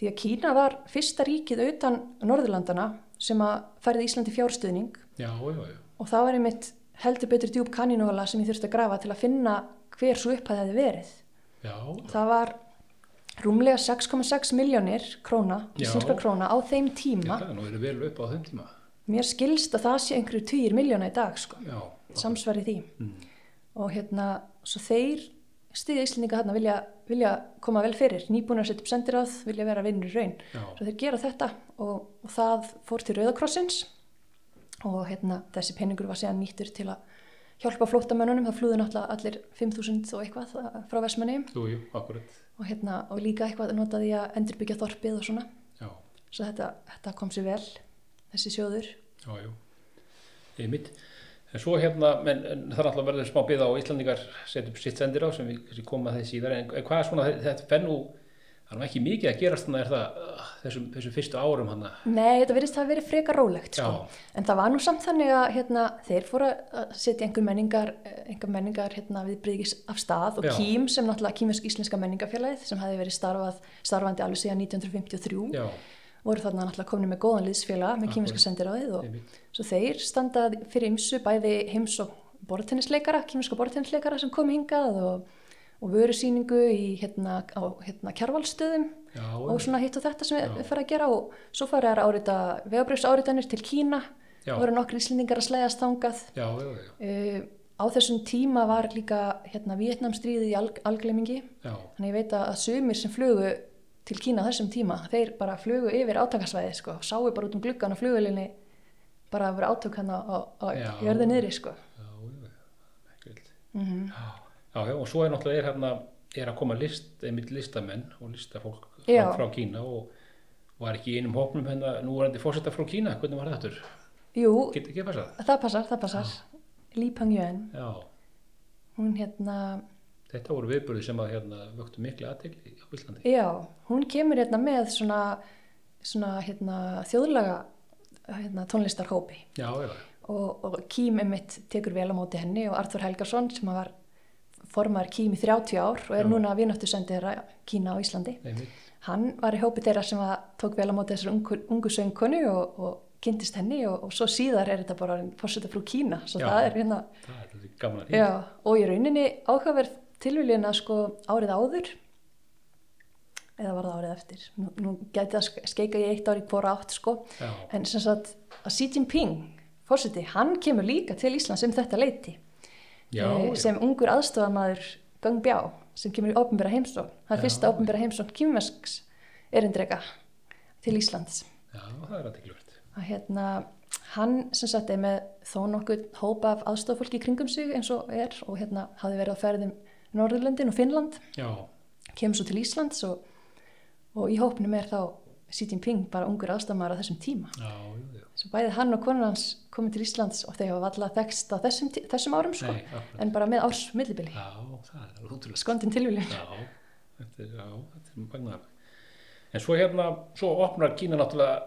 Því að Kína var fyrsta ríkið utan Norðurlandana sem að færði Íslandi fjárstuðning
já, já, já,
og það var einmitt heldur betur djúb kanínuvala sem ég þurfti að grafa til að finna hver svo upphæði hefði verið.
já,
Það var rúmlega 6,6 miljónir króna,
Já.
íslenska króna, á þeim tíma.
það er nú verið vel upp á þeim tíma.
Mér skilst að það sé einhverju týjir miljóna í dag, sko,
Já,
samsverið því. Og hérna, svo þeir stiðja Íslendinga hérna vilja, vilja koma vel fyrir, nýbúin að setja upp sendiráð, vilja vera vinnur í raun.
já,
Svo þeir gera þetta og, og það fór til Rauðakrossins og hérna, þessi peningur var séðan nýttur til að hjálpa flóttamönnunum, það flúðu náttúrulega allir 5.000 og eitthvað eh, frá Vestmanni
jú, jú, akkurat,
og, hérna, og líka eitthvað notaði ég að endurbyggja þorpið og svona.
já,
Svo þetta, þetta kom sér vel, þessi sjóður.
já, jú, ég mitt. En svo hérna, en, en það er alltaf verður smá byða á Íslandingar setja upp sitt sendir á sem við kannski komum að þeir síðar, en en hvað er svona þetta fennú, það er nú ekki mikið að gerast þannig er það uh, þessum, þessum fyrstu árum hann að,
Nei, þetta virðist það að verið frekar rólegt sko.
Já.
En það var nú samt þannig að hérna, þeir fóru að setja einhver menningar, eh, einhver menningar hérna, við brygis af stað og
Já.
Kím sem náttúrulega Kímisk Íslenska menningafélagið sem hafi verið starfað, starfandi alveg síðan 1953
já,
voru þarna náttúrulega komin með góðan liðsfélaga með Kímiska
Akkúrat.
sendiráðið og
ég mitt,
svo þeir standa fyrir ymsu bæði heims og bortennisleikara, kímiska bortennisleikara sem kom hingað og, og vörusýningu í hérna, á hérna kjarvalstöðum
já,
og
einmitt.
svona hitt og þetta sem
Já.
við fara að gera og svo fara þær að árita vegabrjöfs áritanir til Kína
Já.
það voru nokkri íslendingar að slæðast þangað
já, já, já,
uh, á þessum tíma var líka hérna Vietnamstríðið í alg algleimingi
já,
þannig ég veit að að sumir sem flugu til Kína á þessum tíma, þeir bara flugu yfir átakasvæði sko, sáu bara út um gluggan á flugulinni bara að vera átök hann á, á, á
Já.
jörðu niðri sko
já, já, já, ekki vilt.
mm
Já, já, já, og svo er náttúrulega er hérna, er að koma list, einmitt listamenn og listafólk
Já.
frá, frá Kína og var ekki í einum hópnum hérna, nú er þetta fórsetta frá Kína, hvernig var þetta?
Jú,
Getur ekki að passa það?
það passar, það passar Li Peng Yuan,
Já,
hún hérna
þetta voru viðbörði sem að hérna vöktu miklu aðtegli á Íslandi.
Já, hún kemur hérna með svona, svona hérna, þjóðlaga hérna, tónlistarhópi
Já, já,
og, og Kím emitt tekur vel á móti henni og Arthur Helgason sem var formar Kím í 30 ár og er
Já.
núna vináttu sendið þeirra Kína á Íslandi.
einmitt,
Hann var í hópi þeirra sem að tók vel á móti þessar ungu, ungu söngkonu og, og kynntist henni og, og svo síðar er þetta bara fórseta frú Kína, svo
Já.
það er hérna...
það er þetta gaman að því.
Já, og í rauninni áhugaverð tilvílina sko árið áður eða var það árið eftir nú, nú gæti það ske- skeika í eitt árið hvora átt sko
Já,
en sem sagt að Xi Jinping fórseti, hann kemur líka til Íslands um þetta leiti
já,
eh, sem ungur aðstofamæður Gang Bjá sem kemur í ofnbæra heimsókn það er
Já.
fyrsta ofnbæra heimsókn kýmvesks erindrega til Íslands
já, það er aðtegli verið.
að hérna, hann sem sagt er með þó nokkuð hópa af aðstoffólki í kringum sig eins og er og hérna hafði verið á ferðum Norðurlöndin og Finnland,
Já,
kemur svo til Íslands og, og í hópnum er þá Xi Jinping bara ungur aðstammaður á þessum tíma.
já, já, já,
Svo bæði hann og konan hans komið til Íslands og þeir hafa alltaf þekst á þessum, tí- þessum árum sko,
Nei, akkurat.
en bara með árs millibili,
já, það er alveg útrúlega.
skondin tilvíljum.
Já, þetta er, já, þetta er magnaðar. En svo hérna, svo opnar Kína náttúrulega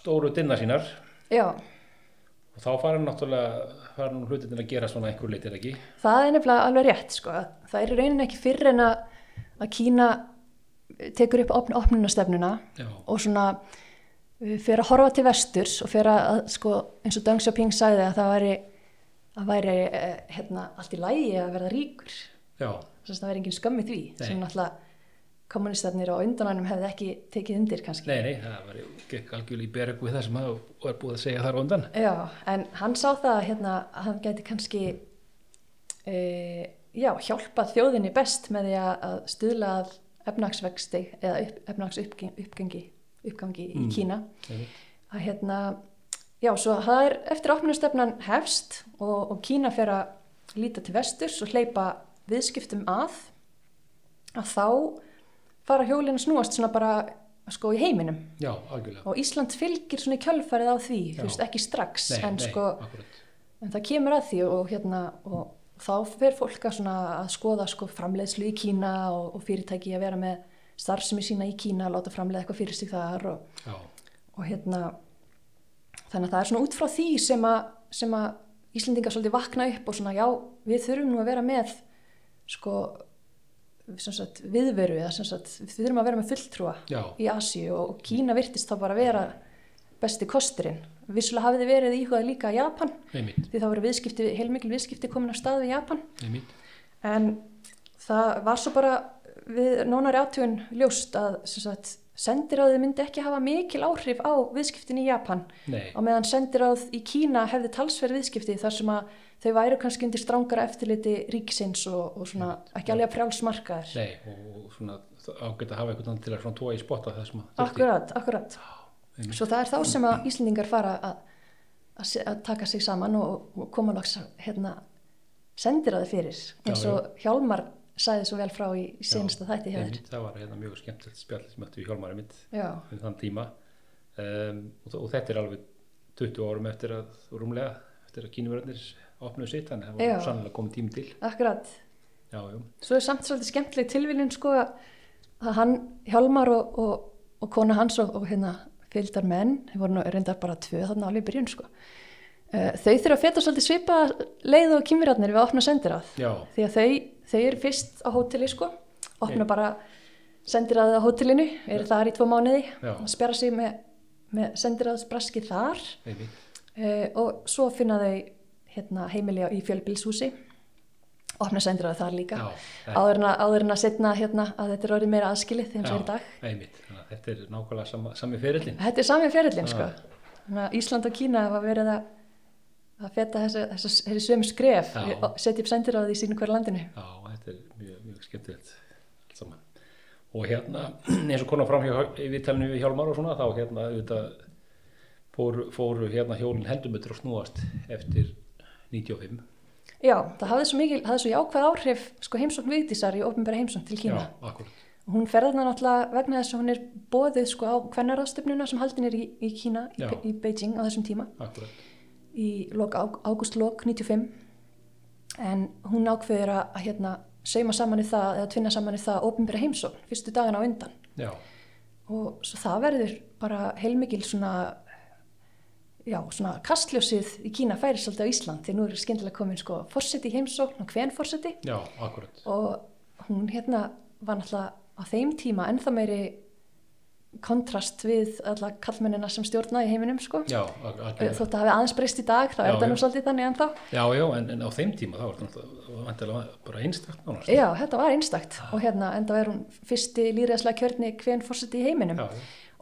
stóru dinnar sínar
Já,
og þá fara hann náttúrulega, fara hann hlutin að gera svona einhver leitir ekki.
það er nefnilega alveg rétt sko, það er í rauninni ekki fyrr en að, að Kína tekur upp opn, opnunastefnuna
Já,
og svona uh, fyrir að horfa til vesturs og fyrir að sko, eins og Deng Xiaoping sagði að það væri, að væri eh, hérna, allt í lægi að verða ríkur
já,
þess að það væri engin skömmi því
Nei.
sem náttúrulega kommunistarnir á undananum hefði ekki tekið undir kannski
nei, nei, það var gekk algjörlega í bergu við það sem það var búið að segja þar á undan.
Já, en hann sá það að, hérna, að hann gæti kannski e, já, hjálpa þjóðinni best með því að að stuðla að efnagsvexti eða upp, efnagsuppgangi uppgangi í
Mm.
Kína
Nei,
að hérna, já, svo það er eftir opnustefnan hefst og, og Kína fer að líta til vesturs og hleypa viðskiptum að, að þá fara hjólinn að snúast svona bara sko í heiminum
Já, algjörlega.
og Ísland fylgir svona í kjölfarið á því,
Já.
þú veist, ekki strax,
Nei,
en
nei,
sko,
akkurat.
en það kemur að því og hérna, og þá fer fólk að svona að skoða sko framleiðslu í Kína og, og fyrirtæki að vera með starfsemi sína í Kína, láta framleiða eitthvað fyrir sig þar og
Já,
og hérna þannig að það er svona út frá því sem að, sem að Íslendingar svolítið vakna upp og svona já, við þurfum nú að vera með sko sem sagt, viðveru eða sem sagt, við þurfum að vera með fulltrúa
já,
í Asíu og Kína virtist þá bara vera besti kosturinn vissulega hafiði verið íhugað líka Japan
einmitt,
því það voru viðskipti, heilmikil viðskipti komin af stað við Japan
einmitt,
en það var svo bara við nánari aðtjóðin ljóst að sem sagt, sendiráðið myndi ekki hafa mikil áhrif á viðskiptin í Japan
nei,
á meðan sendiráð í Kína hefði talsverð viðskipti þar sem að þau væru kannski undir strángara eftirliti ríksins og, og svona ekki alveg frjálsmarkaðir.
nei og svona ágætt að hafa einhvern veginn til að svona tóa í spotta það sem að þurfti.
Akkurat, akkurat.
einmitt.
Svo það er þá sem að Íslendingar fara að, að, se- að taka sig saman og, og koma loks hérna, sendiráði fyrir eins
Já, já.
og Hjálmar sagði svo vel frá í, í
Já,
senasta þætti hjá þér.
einmitt, það var hérna mjög skemmtilegt spjall sem ættu í Hjálmari mitt
Já,
um þann tíma um, og, þó- og þetta er alveg 20 árum eftir að rúmlega eftir að kínumverðinir opnuðu sitt þannig að það
Já.
var sannlega komið tími til
akkurat.
já, já,
Svo er samt svolítið skemmtileg tilviljun sko að hann, Hjálmar og, og, og kona hans og, og hérna fylgdar menn, þeir voru nú reyndar bara tvö þarna alveg í byrjun sko. Eh, Þau þurfa að feta svolítið svipa leið og kýmirarnir við að opna sendiráð.
já,
Því að þau, þau eru fyrst á hóteli sko, opna
Nei.
bara sendiráðið á hótelinu, eru þar í tvo mánuði,
Já.
og spjara sig með, með sendiráðsbraski þar
einmitt
uh, og svo finna þau hérna, heimili á- í fjölbílshúsi opna sendiráð þar líka
Já, eh. það-
áður en að, áður en að setna hérna, að þetta er orðið meira aðskilið þegar
Já,
það er í dag
einmitt, þannig að þetta er nákvæmlega sama, sami ferillin
þetta er sami ferillin
Já.
sko. Þannig að Ísland og Kína hafa verið að, að feta þessi, þessi, þessi sömu skref
Já.
og setja upp sendiráð í sínu hverju landinu
Já, þetta er mjög, mjög skemmtilegt allt saman og hérna, eins og konar fram hjá viðtalinu við Hjálmar og svona, þá hérna auðvitað fóru, fóru hérna hjólinn heldumetri og snúast eftir 95
já, það hafði svo, mikil, hafði svo jákvæð áhrif sko, heimsókn viðdísar í ofnbæra heimsókn til Kína
Já, akkurat,
hún ferðna náttúrulega vegna þess að hún er bóðið sko, á hvernarraðstöfnuna sem haldin er í, í Kína, í,
Já.
Pe- í Beijing á þessum tíma
akkurat
í lok, ágústlok 95 en hún ákveður að, að hérna, seima saman í það eða tvinna saman í það ofinbæra heimsókn fyrstu dagana á undan
Já,
og svo það verður bara heilmikil svona já, svona kastljósið í Kína færi svolítið á Ísland því nú er skemmtilega komin sko forseti í heimsókn og hven forseti
já, akkurat
og hún hérna var náttúrulega á þeim tíma ennþá meiri kontrast við alla kallmennina sem stjórna í heiminum sko
Já, ak-
Eh,
akkurat
þótt að hafi aðeins breyst í dag þá
Já,
er það nú
já.
svolítið þannig ennþá
Já, já, en, en á þeim tíma þá var þetta náttúrulega vantilega bara einstakt nánast
já, þetta var einstakt og hérna enda er hún fyrsti líðræðslega kjörni hvern fórseti í heiminum
já,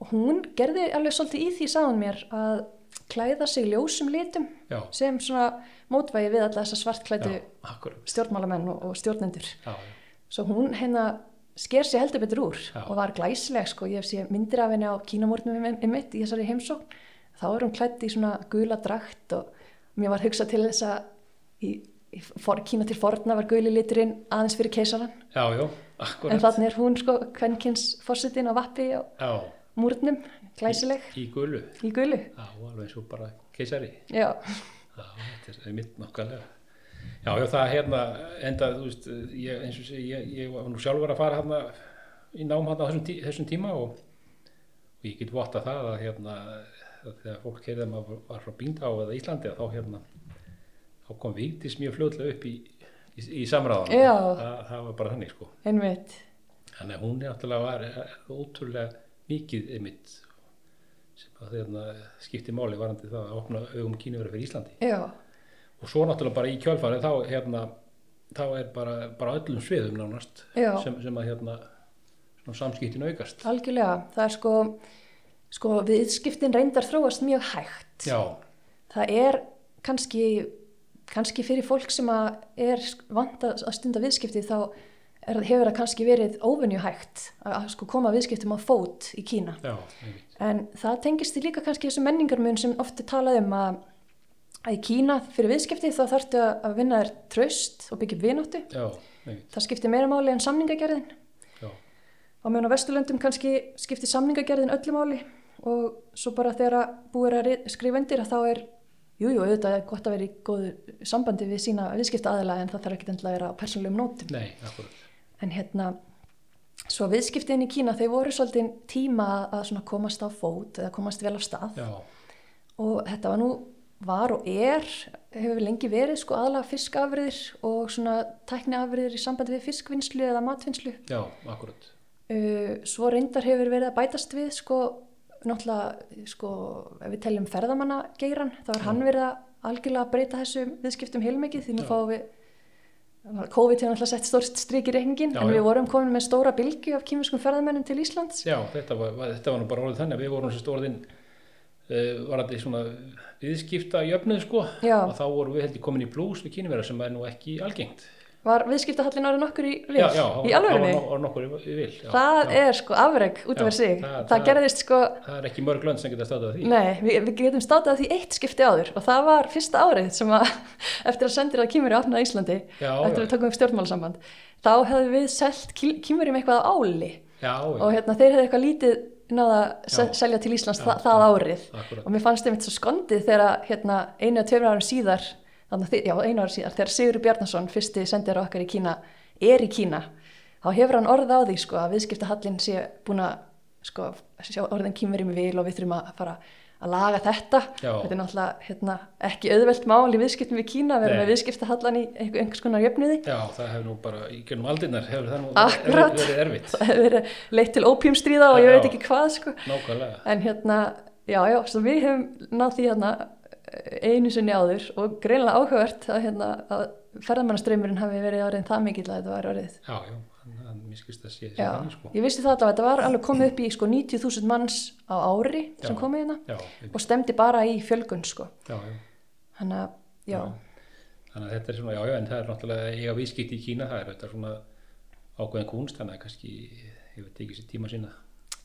og hún gerði alveg svolítið í því sáðan mér að klæða sig ljósum litum
já,
sem svona mótvægi við alla þessa svartklætu
já, akkurat
stjórnmálamenn og, og stjórnendur
Já, já,
svo hún hérna sker sér heldur betur úr
Já.
og var glæsileg sko, ég sé myndir af henni á kínamórnum um mitt í þessari heimsókn þá er hún klætt í svona gula drakt og mér var hugsað til þess að í, í for, kína til forna var guli liturinn aðeins fyrir keisaran
já, já,
en
akkurat
þannig er hún sko kvenkins fórsetin á vappi á
Já,
múrnum, glæsileg
í gulu
í gulu,
Já, alveg eins og bara keisari
já,
Já, þetta er mitt nokkalega. Já, já, það hérna, enda, þú veist, ég, eins og sé, ég, ég var nú sjálfur að fara hérna í nám hérna á þessum, tí, þessum tíma og, og ég get votta það að hérna, að þegar fólk heyrði að maður var frá Bíndá eða Íslandi að þá hérna, þá kom Vigdís mjög fljóðlega upp í, í, í samráðan.
Já.
Það, það var bara þannig, sko.
einmitt
Þannig að hún er náttúrulega var eh, ótrúlega mikið einmitt sem að hérna skipti máli varandi það að opna augum kínverið fyrir Íslandi
já,
og svo náttúrulega bara í kjölfarið þá hérna þá er bara, bara öllum sviðum nánast
Já.
sem, sem að hérna svona samskiptin aukast
algjörlega það er sko, sko viðskiptin reyndar þróast mjög hægt
já,
það er kannski, kannski fyrir fólk sem að er vant að að stunda viðskipti þá er, hefur það kannski verið óvenjuhægt að, að sko koma viðskiptum á fót í Kína.
já, einmitt.
En það tengist því líka kannski þessu menningarmun sem oft er talað um að, að í Kína fyrir viðskipti þá þarftu að að vinna þér tröst og byggja upp vináttu.
já, einmitt.
Það skiptir meira máli en samningagerðin.
já,
Á meðan á Vesturlöndum kannski skiptir samningagerðin öllu máli og svo bara þegar að búið er að ri- skrifa undir að þá er, jújú, jú, auðvitað er gott að vera í góðu sambandi við sína viðskipta aðila en það þarf ekki endilega að vera á persónulegum nótum.
nei, akkurat
En hérna, svo viðskiptin í Kína, þeir voru svolítið tíma að svona komast á fót eða komast vel af stað
já,
og þetta var nú var og er, hefur lengi verið sko aðalega fiskafriðir og svona tækniafriðir í sambandi við fiskvinnslu eða matvinnslu
já, akkurat
Eh, Uh, svo reyndar hefur verið að bætast við sko náttúrulega, sko, ef við teljum ferðamanna geiran, þá er hann verið að algjörlega breyta þessum viðskiptum heilmikið því nú
Já.
fáum við COVID hefur náttúrulega sett stórt strik í reyngin
Já,
en við
já.
vorum komin með stóra bylgi af kýmiskum ferðamennum til Íslands
Já, þetta var, var, þetta var nú bara orðið þannig að við vorum sérst orðin uh, var þetta svona viðskipta jöfnuð sko
Já.
og þá vorum við heldur komin í blús við kynverðar sem er nú ekki algengt
var viðskiptahallin árið nokkur í vil
já, það
í
var- það
alvörunni
var, var nokkur í- í vil já,
það
já.
er sko afreg út
Já,
af sig
það-
það,
það-
gerðist sko
Það er ekki mörg lönd sem geta státt af því
nei, við, við getum státað því eitt skipti áður og það var fyrsta árið sem að eftir að sendir að kýmur í opnað Íslandi
Já, já.
eftir að við tókum upp stjórnmálasamband þá hefðum við selt kýmur í með eitthvað á áli
Já, já,
og hérna, þeir hefðu eitthvað lítið náða
Já.
að selja til Íslands
Já,
það, það árið
akkúrat.
og mér fannst þeim eitthvað svo skondið þegar að, hérna, einu að tveimur árum síðar þannig, að þi- já, einu árum síðar, þegar Sigur Bjarnason fyrsti sendir okkar í Kína, er í Kína þá hefur hann orð á því sko, að viðskiptahallin sé búin að sko, sjá orðin kýmurum í vil og við þurfum að fara að laga þetta
Já.
þetta er náttúrulega hérna, ekki auðvelt mál í viðskiptum við Kína við erum
Nei.
með viðskiptahallan í einhver- einhvers konar jöfnuði
já, það hefur nú bara í gennum aldinnar hefur það nú
Akkúrat.
verið, verið erfitt
það hefur verið leitt til ópíumstríða og ég
Já.
veit ekki hvað sko.
Nákvæmlega,
En hérna, já, já, svo við hefum náð því hérna eh, einu sinni áður og greinlega áhugavert að, hérna, að ferðamannaströymurinn hafi verið orðin það mikill að þetta var orðið.
já, já, hann, hann miskist að sé sé
Já,
þannig sko
ég vissi það allavega, þetta var alveg komið upp í sko 90.000 manns á ári sem
Já.
komið hérna
Já,
og stemdi bara í fjölgun sko.
já, já
Þannig að, já,
Þannig að þetta er svona, já, já, en það er náttúrulega eiga viðskipti í Kína, það er þetta svona ákveðin kunst, þannig að kannski hefur tekið sér tíma sína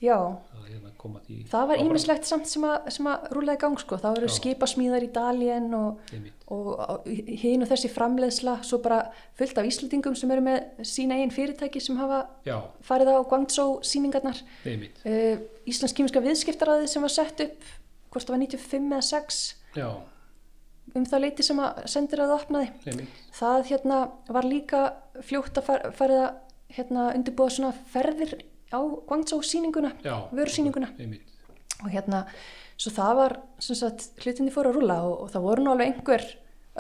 já,
að hérna koma því
það var
áfram.
ýmislegt samt sem að, sem að rúlega gang sko. Það voru
Já.
skipasmíðar í Dalien og
Einmitt.
og á- í- hin og þessi framleiðsla svo bara fullt af Íslandingum sem eru með sína eigin fyrirtæki sem hafa
Já,
farið á Guangzhou síningarnar
einmitt,
uh, Íslands kýmiska viðskiptaráði sem var sett upp hvort það var 95 eða 6
já,
um það leiti sem að sendir að það opnaði
einmitt,
það hérna var líka fljótt að far, farið að hérna undirbúa svona ferðir á Guangzhou síninguna,
já.
vörusýninguna
Einmitt,
og hérna, svo það var sem sagt, hlutinni fór að rúla og, og það voru nú alveg einhver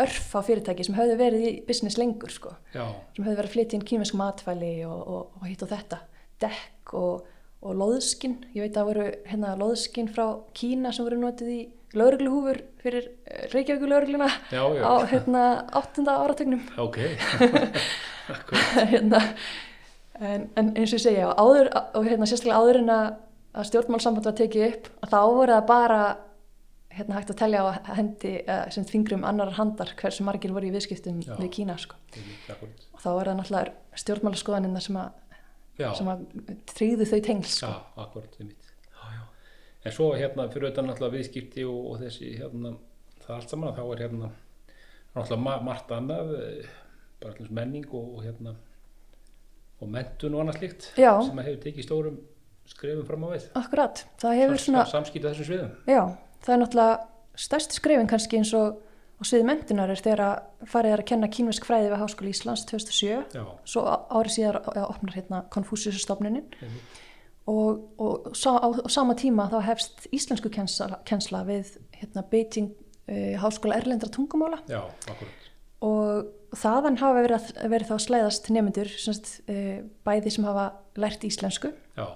örf á fyrirtæki sem höfðu verið í business lengur sko,
já,
sem höfðu verið að flytja inn kýmisk matfæli og, og, og hitt og þetta dekk og, og loðskin ég veit að það voru hérna loðskin frá Kína sem voru notið í laurugluhúfur fyrir Reykjavíku laurugluna
Já, já.
á hérna 8. áratögnum
ok, Akkur-
hérna, en, en eins og ég segja áður, og hérna, sérstaklega áður en að, að stjórnmálsamband var tekið upp að þá voru það bara hérna, hægt að telja á hendi eh, sem fingrum annar handar hversu margir voru í viðskiptum
Já.
við Kína sko.
einmitt, akkurat,
og þá voru það náttúrulega stjórnmálaskoðanina sem, að,
já,
sem að tryggðu þau tengl sko.
já, akkurat, einmitt, já, já. En svo hérna fyrir utan náttúrulega viðskipti og, og þessi hérna, það allt saman, þá er hérna náttúrulega ma- margt annað, eh, bara allins menning og, og hérna og mentun og annað slíkt
Já.
sem að hefur tekið stórum skrefum fram á við.
akkurat, það hefur svona
samskipta þessum sviðum
já, það er náttúrulega stærsti skrefin kannski eins og á sviði mentunar er þegar að farið er að kenna kínvesk fræði við Háskóli Íslands 2007
já,
svo á- ári síðar eh, opnar hérna Konfúsiusstofnunin
einmitt,
og, og sá, á, á sama tíma þá hefst íslensku kennsla, kennsla við hérna Beijing uh, Háskóla Erlendra tungumála
já, akkurat
og þaðan hafa verið, að- verið þá að slæðast nefnendur semst, uh, bæði sem hafa lært íslensku
já,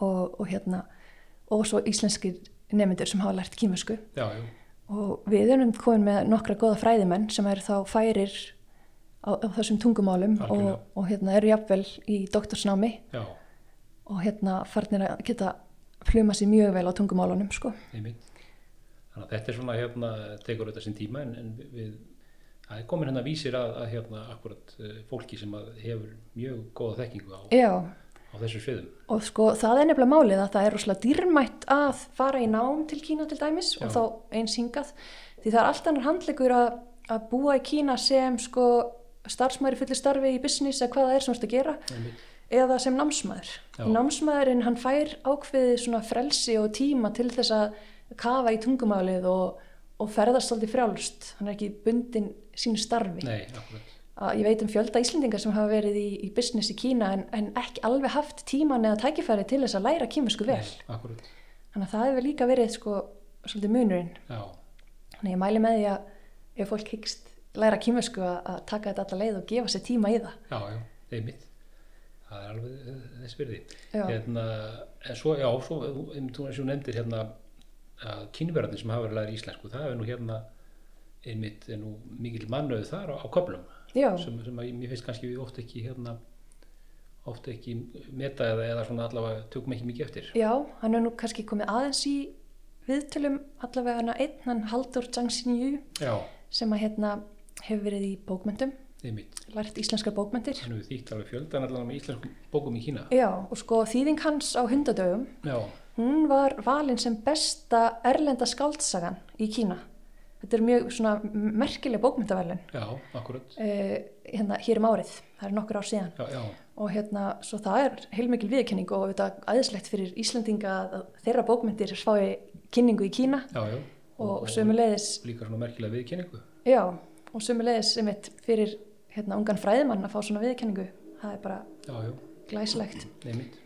og, og hérna og svo íslenskir nefnendur sem hafa lært kýmversku
já, já,
og við erum komin með nokkra góða fræðimenn sem eru þá færir á, á þessum tungumálum
Algjörlega.
og, og hérna eru jafnvel í doktorsnámi
já,
og hérna farnir að geta pluma sér mjög vel á tungumálunum sko.
einmitt þannig að þetta er svona hérna tekur þetta sinn tíma en, en við það er komin hérna vísir að, að hérna akkurat eh, fólki sem að hefur mjög góða þekkingu á,
Já,
á þessum sviðum
og sko það er nefnilega málið að það er rosalega dýrmætt að fara í nám til Kína til dæmis og
Já.
þá eins hingað því það er allt annar handlegur að, að búa í Kína sem sko starfsmæri fullir starfi í business eða hvað það er sem þú ert að gera
einmitt,
eða sem námsmaður.
Já.
Námsmaðurinn hann fær ákveðið svona frelsi og tíma til þess að kafa í tungumálið og, og ferðast aldrei frjálst, hann er ekki bundin sínu starfi.
nei, akkurat
að ég veit um fjölda Íslendingar sem hafa verið í, í business í Kína en, en ekki alveg haft tíman eða tækifæri til þess að læra kýmisku vel.
Nei, akkurat,
Þannig að það hefur líka verið sko svolítið munurinn.
já,
Þannig að ég mæli með því að ef fólk hyggst læra kýmisku að, að taka þetta alla leið og gefa sér tíma í það.
já, já, einmitt það er alveg eh, þess virði
Já.
hérna, en svo, já, svo um, þú eins og þú nefndir hérna að kynverðarnir sem hafa verið að læra íslensku það er nú hérna einmitt er nú mikil mannöðu þar á, á köflum
já,
sem, sem að, ég- mér finnst kannski við oft ekki hérna oft ekki meta eða, eða svona allavega tökum ekki mikið eftir
já, hann er nú kannski komið aðeins í viðtölum allavega hann einn, hann Haldur Jangsinju
já,
sem að hérna hefur verið í bókmyndum,
einmitt,
lært íslenskar bókmyndir.
hann hefur þýtt alveg fjöldan allavega með íslenskum bókum í Kína
Já, og sko þýðing hans á hundadögum,
já,
hún var valin sem besta erlenda skáldsagan í Kína. Þetta er mjög svona merkileg bókmyndaverlun
já, akkurat
uh, hérna, hér um árið, það er nokkur ár síðan.
já, já,
og hérna, svo það er heilmikil viðkenning og auðvitað aðeinslegt fyrir Íslandinga að að þeirra bókmyndir fái kynningu í Kína
já, já
og sömuleiðis,
líka svona merkilega viðkenningu
já, og sömuleiðis einmitt fyrir hérna ungan fræðimann að fá svona viðkenningu, það er bara
já, já,
glæslegt.
einmitt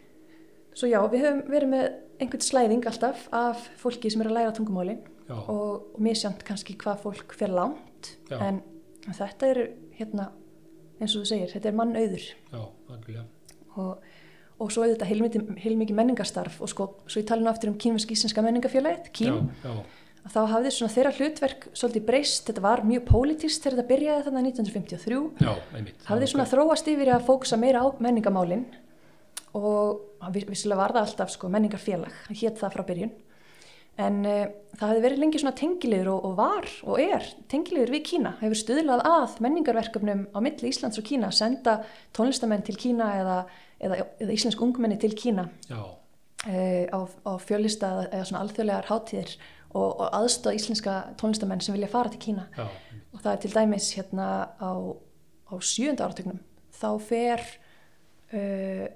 Svo já, við höfum verið með einhvern slæðing alltaf af fólki sem er að læra tungumáli
já,
og, og misjönd kannski hvað fólk fer langt,
Já.
en þetta eru hérna, eins og þú segir, þetta er mannauður.
já, algjörlega
og, og svo auðvitað heilmikið, heilmikið menningarstarf og sko, svo ég tala nú aftur um kínversk íslenska menningarfélagið,
já,
Kín,
já,
að þá hafði svona þeirra hlutverk svolítið breyst, þetta var mjög pólitist þegar þetta byrjaði þannig 1953,
já, einmitt
hafði svona þróast yfir í að fókusa meira á menningamálin og hann viss- vissulega var það alltaf sko menningarfélag, hétt það frá byrjun. En uh, það hefði verið lengi svona tengilegur og, og var og er tengilegur við Kína. Hefur stuðlað að menningarverkefnum á milli Íslands og Kína, senda tónlistamenn til Kína eða, eða, eða íslensk ungmenni til Kína
já,
uh, á, á fjölista eða, eða svona alþjóðlegar hátíðir og, og aðstóð íslenska tónlistamenn sem vilja fara til Kína.
já, einmitt.
Og það er til dæmis hérna á, á sjönda áratögnum. Þá fer, uh,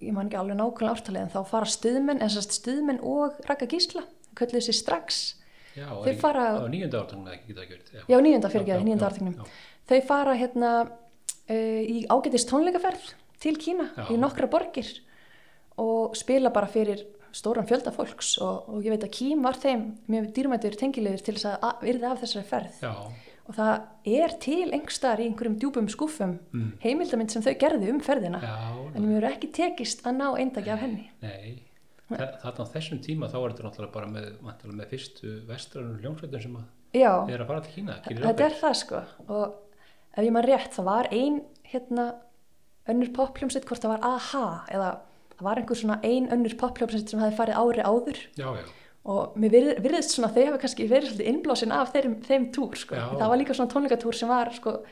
ég man ekki alveg nákvæmlega ártalið, en þá fara stuðmenn, en sérst stuðmenn og Raka Gísla, kölluðu sér strax.
já,
Þeir
en-
fara-
á nýjönda ártunum ekki geta gjörð
Já, nýjönda fyrirgeði,
já,
nýjönda
já,
áratögnum.
já.
Þau fara hérna uh, í ágætist tónleikaferð til Kína,
Já.
í nokkra borgir og spila bara fyrir stóran fjölda fólks og, og ég veit að Kím var þeim mjög dýrmætur tengilegur til þess að, að virða af þessari ferð.
já,
og það er til engstaðar í einhverjum djúpum skúfum
Mm.
heimildamind sem þau gerðu um ferðina
já,
en mér er ekki tekist að ná eindagi af henni
Nei, Þa- þarna á þessum tíma þá er þetta náttúrulega bara með, væntanlega með fyrstu vestrarunum hljómsveitum sem að
já,
er að fara til Kína. Kýrir
þetta er það sko og ef ég man rétt það var ein hérna önnur poppljómsveit hvort það var aha eða það var einhver svona ein önnur poppljómsveit sem hafi farið ári áður
Já, já,
og mér virð, virðist svona að þau hafi kannski verið svolítið innblásin af þeim, þeim túr sko.
Já.
það var líka svona tónleikatúr sem var sko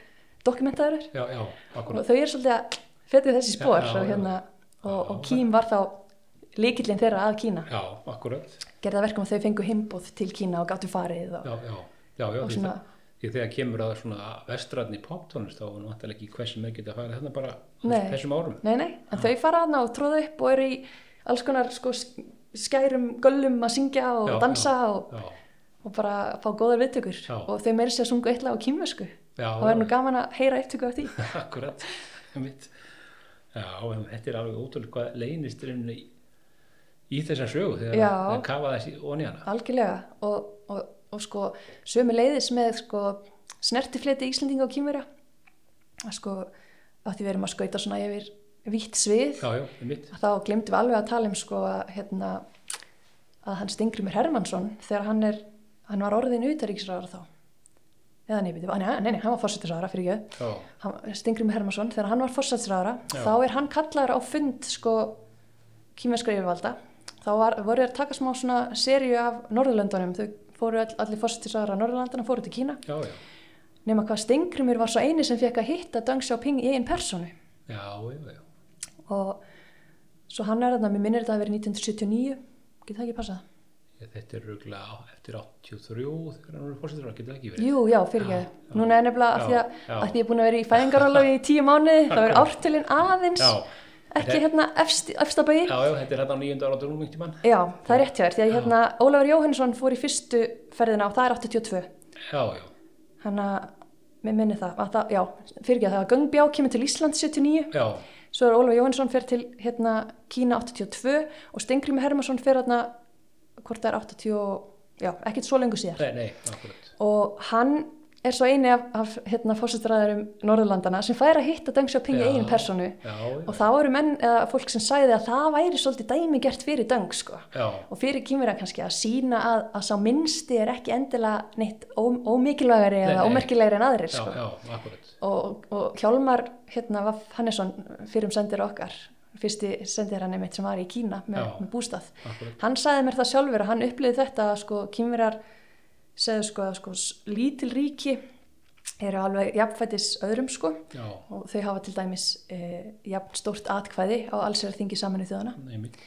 dokumentaður
já, já,
og
akkurat.
þau eru svolítið að fetið þessi
Já,
spór
já,
og, hérna,
já.
og, og
Já.
Kím var þá líkillin þeirra að Kína
Já, akkurat.
gerði það verkum að þau fengu himbóð til Kína og gáttu farið og,
Já, já, já, já.
Og
því
svona-
það- Því þegar kemur að svona vestrarni poptónist þá er náttúrulega ekki hversu með geta að fara þarna bara á
Nei.
þessum árum.
nei, nei, en þau fara aðna og tróða upp og eru í alls konar sko, sk- skærum göllum að syngja og
Já,
dansa
já.
Og,
Já,
og bara fá góðar viðtökur
Já.
og þau meiri sér að sunga eitthvað á kínvesku
Já,
og er nú
já.
gaman að heyra upptöku af því
akkurat. Mitt. Já, en þetta er alveg ótrúlega hvað leynist er einnig í, í þessa sögu þegar
Já.
það kafa þessi oníana.
algjörlega og, og, og sko sömu leiðis með sko snertifleti Íslendinga og Kímverja að sko að því við erum að skauta svona yfir vitt svið
Já, já, mitt.
þá glemdi við alveg að tala um sko að hérna að hann Stingrimur Hermansson þegar hann er hann var orðin utaríksræðara þá eða nei, byrju, nei, nei, nei, hann var fórsetisræðara fyrir ég
Já,
Hann- Steingrímur Hermansson, þegar hann var fórsætsræðara
Já.
þá er hann kallar á fund sko, kímerskra yfirvalda þá var, voru þeir að taka smá svona seríu af Norðurlöndunum, þau fóru all, allir fórsætsræðara Norðurlandana, fóru til Kína
já, já.
nema hvað Steingrímur var svo eini sem fekk að hitta Deng Xiaoping í einn personu
Já, já, já.
og svo hann er þarna, mér minnir þetta að vera 1979 getur það ekki passað?
Ég, þetta er röglega eftir 83 þegar hann er fórsetur, getur það ekki verið.
Jú, já, fyrir
Já,
ekki, núna er nefnilega að því
Já,
að,
já.
að því ég er búin að vera í fæðingarálafi í tíu mánuði, þá er
Akkurat.
ártölin aðeins
Já,
ekki hérna efst, efsta bæi
já, já, þetta er hérna á nýjönda áratunum einhvern tímann.
Já, það er rétt hjá þér, því að hérna Ólafur Jóhannsson fór í fyrstu ferðina og það er 82.
Já, já,
Hanna, mér minni það, að það, já, fyrir ekki að það var Göngbjá kemur til Ísland 79,
já,
svo er Ólafur Jóhannsson fer til hérna Kína 82 og Stengrimur Hermansson fer hérna, hvort það er 80, og- já, ekkert svo lengur síðar.
nei, nei, akkurat.
Og hann er svo eini af, af hérna, fósitræðarum Norðurlandana sem fær að hitta Deng Xiaoping í
Já.
eigin personu
já,
og þá eru menn, eða fólk sem sagði að það væri svolítið dæmigert fyrir Deng sko.
já,
og fyrir kýmur kannski að sína að, að sá minnsti er ekki endilega neitt ó, ómikilvægari
Nei,
eða
nei.
ómerkilegri en aðrir
já,
sko.
já, akkurat
og, og Hjálmar hérna, Vaff Hannesson fyrir um sendir okkar fyrsti sendir hann einmitt sem var í Kína með,
Já.
með bústað
Akkurat.
hann sagði mér það sjálfur að hann upplýði þetta að sko, kýmverjar segðu sko að sko, s- lítil ríki eru alveg jafnfætis öðrum sko
já,
og þau hafa til dæmis eh, jafn stórt atkvæði á allsverðingi saminu þjóðana
einmitt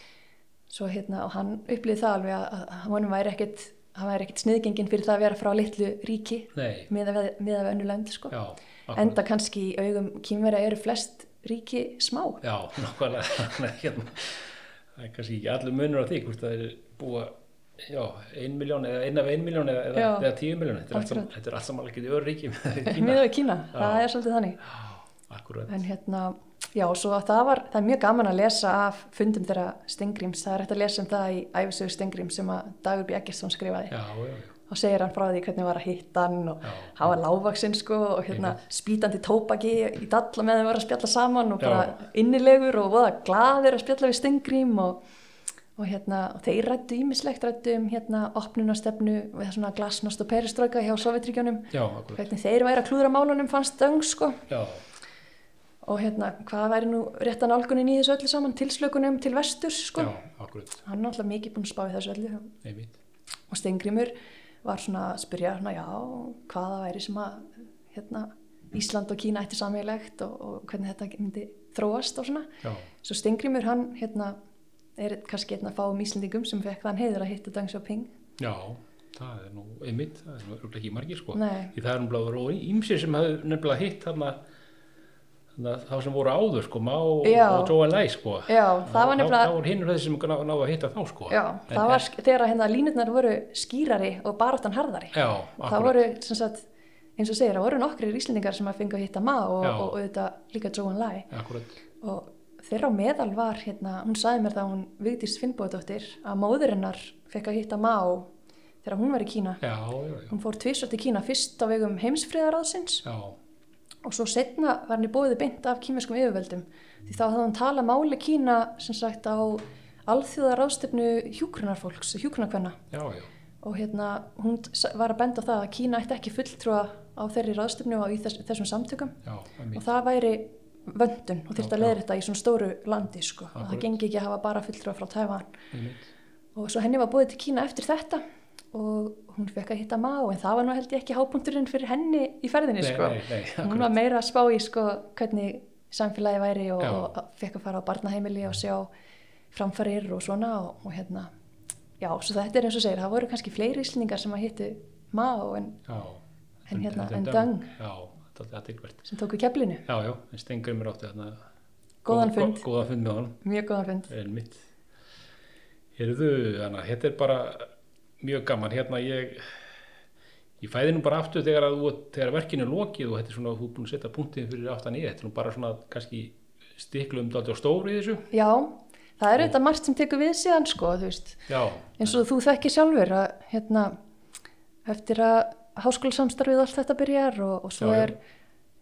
svo hérna og hann upplýði það alveg að, að honum væri ekkit hann væri ekkit sniðgengin fyrir það að vera frá litlu ríki
nei,
með að við önnu lönd sko.
já, akkurat
enda kannski í augum kýmverja eru flest ríki smá
já, nákvæmlega Nei, hérna. það er kannski ekki allur munur á því hvort það er búa já, ein miljón eða ein af ein miljón eða, eða,
Já.
eða tíu miljón þetta er allt
Akkurat.
sam- þetta er allt saman ekki í öðru ríki með Kína.
miðað við Kína, það
Já.
er svolítið þannig
Já, akkurat
en hérna, já, svo að það var það er mjög gaman að lesa af fundum þeirra Stengrims, það er hægt að lesa um það í æfisögu Stengrims sem að Dagur B. Eggertsson skrifaði
já, já, já
og segir hann frá því hvernig var að hitta hann og
Já.
hafa lágvaksinn sko og hérna spítandi tópaki í dalla með þeim var að spjalla saman og
Já.
bara innilegur og voða glaður að spjalla við Stengrím og, og hérna og þeir rættu ímislegt rættu um hérna opnunastefnu við það svona glasnost og peristróka hjá Sovjetríkjónum
Já, akkurat.
hvernig þeir væri að klúðra málunum fannst döng sko
Já,
og hérna hvað væri nú réttan álgunin í þessu öllu saman tilslökunum til vesturs sko
já, akkurat.
hann er náttúrulega mikið búinn að spá í þessu öllu
Einmitt.
og Steingrimur var svona að spyrja svona já, hvaða væri sem að hérna, Ísland og Kína ætti sammeilegt og, og hvernig þetta myndi þróast og svona.
Já,
Svo Steingrimur hann hérna er kannski einn að fáum Íslandingum sem fekk þann heiður að hitta Deng Xiaoping.
já, það er nú einmitt, það er nú örugglega ekki margir sko.
Nei.
Því það er umlað og ímsir sem hafði nefnilega hitt þarna, þarna þá sem voru áður sko, Má og,
Já.
og Joe and Lai sko.
Já, það var
Þá
nefnilega,
voru hinnur þessi sem ná, náðu að hitta þá sko.
já,
En-
það var sk- þegar að hérna línurnar voru skýrari og baráttan harðari.
Já,
það
akkurat.
voru, sem sagt, eins og segir, það voru nokkrir Íslandingar sem að fengu að hitta Ma og,
Já.
og, og auðvitað líka Zhou Enlai.
Akkurat,
og þeirra á meðal var hérna, hún sagði mér það að hún Vigdís Finnbóðdóttir að móður hennar fekk að hitta Má þegar hún var í Kína
já, já, já.
hún fór tvisvart til Kína fyrst á vegum heimsfriðaráðsins
Já,
og svo setna var henni bóðið beint af kímerskum yfirveldum því þá hafði hún talað máli Kína sem sagt á alþjóðaráðstefnu hjúkrunarfólks, hjúkrunarkvenna
já, já.
og hérna hún s- var að benda á það að Kína ætti ekki fulltrúa á þeirri ráðstefnu og í þess, þessum samtökum
Já,
og
einmitt.
það væri vöndun og þurfti
Já,
að
já.
leiða þetta í svona stóru landi sko. að það
Akkurat.
gengi ekki að hafa bara fulltrúa frá Tævan
einmitt.
og svo henni var búið til Kína eftir þetta og hún fekk að hitta má en það var nú held ég ekki hápunkturinn fyrir henni í ferðinni
Nei,
sko.
nei, nei,
hún
akkurat.
var meira að spá í sko, hvernig samfélagi væri og,
Já.
og fekk að fara á barnaheimili og sjá framfarir og svona og, og hérna já, svo þetta er eins og segir, það voru kannski fleiri íslendingar sem að hittu má en
Já.
En hérna, en Deng.
Já, þetta er aðtilvært.
sem tóku keflinu,
Já, já, en Stengrimur átti þarna.
góðan
gó-
fund
gó- Góðan fund með honum.
mjög góðan fund
En mitt. Heyrðu, þannig að þetta er bara mjög gaman. Hérna ég, ég fæði nú bara aftur þegar, að, þú- þegar verkinu er lokið og þetta er svona, þú er búin að setja punktið fyrir aftan í. Þetta er nú bara svona kannski stiklu um daldi á stóri í þessu.
Já, það er auðvitað margt sem tekur við síðan sko, þú veist,
Já,
eins og þú þekkir sjálfur að hérna, eftir að háskólasamstarfið allt þetta byrjar og, og svo
Já, já.
er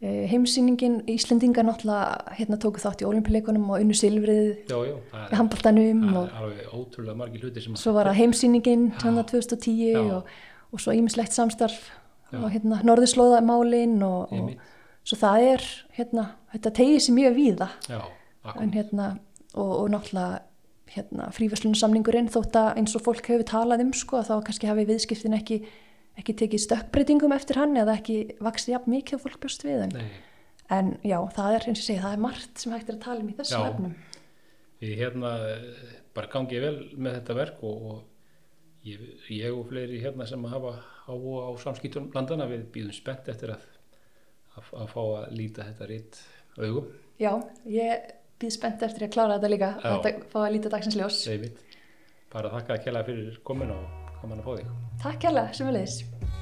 e, heimsýningin Íslendinga náttúrulega hérna tóku þátt í olimpíuleikunum og unnu silfrið
já, já. Það
í
er,
handbóltanum
það
og
er alveg ótrúlega margir hluti sem að...
svo var það heimsýningin þannig að 2010
Já.
og, og svo ímislegt samstarf
Já.
og hérna norðurslóðamálin og,
Einmitt.
og svo það er hérna, þetta tegið sér mjög víða
Já,
en
akkur.
hérna og, og náttúrulega hérna, fríverslunarsamningurinn þótt að eins og fólk hefur talað um sko að þá kannski hafi viðskiptin ekki ekki tekið stökkbreytingum eftir hann eða ekki vaksið jafn mikið og fólk bjóst við en,
Nei,
en já, það er eins og segja, það er margt sem hægt er að tala um í þessum
Já.
efnum
við hérna eh, bara gangið vel með þetta verk og, og ég, ég og fleiri hérna sem hafa áhuga á samskiptum landana við býðum spennt eftir að, að, að fá að líta þetta rétt augum,
Já, ég býð spennt eftir að klára þetta líka
Já.
að dag- fá að líta dagsins ljós
segið mitt. Bara þakka að kella fyrir komin og gaman að fá þig.
Takk hérlega, sem við leiðis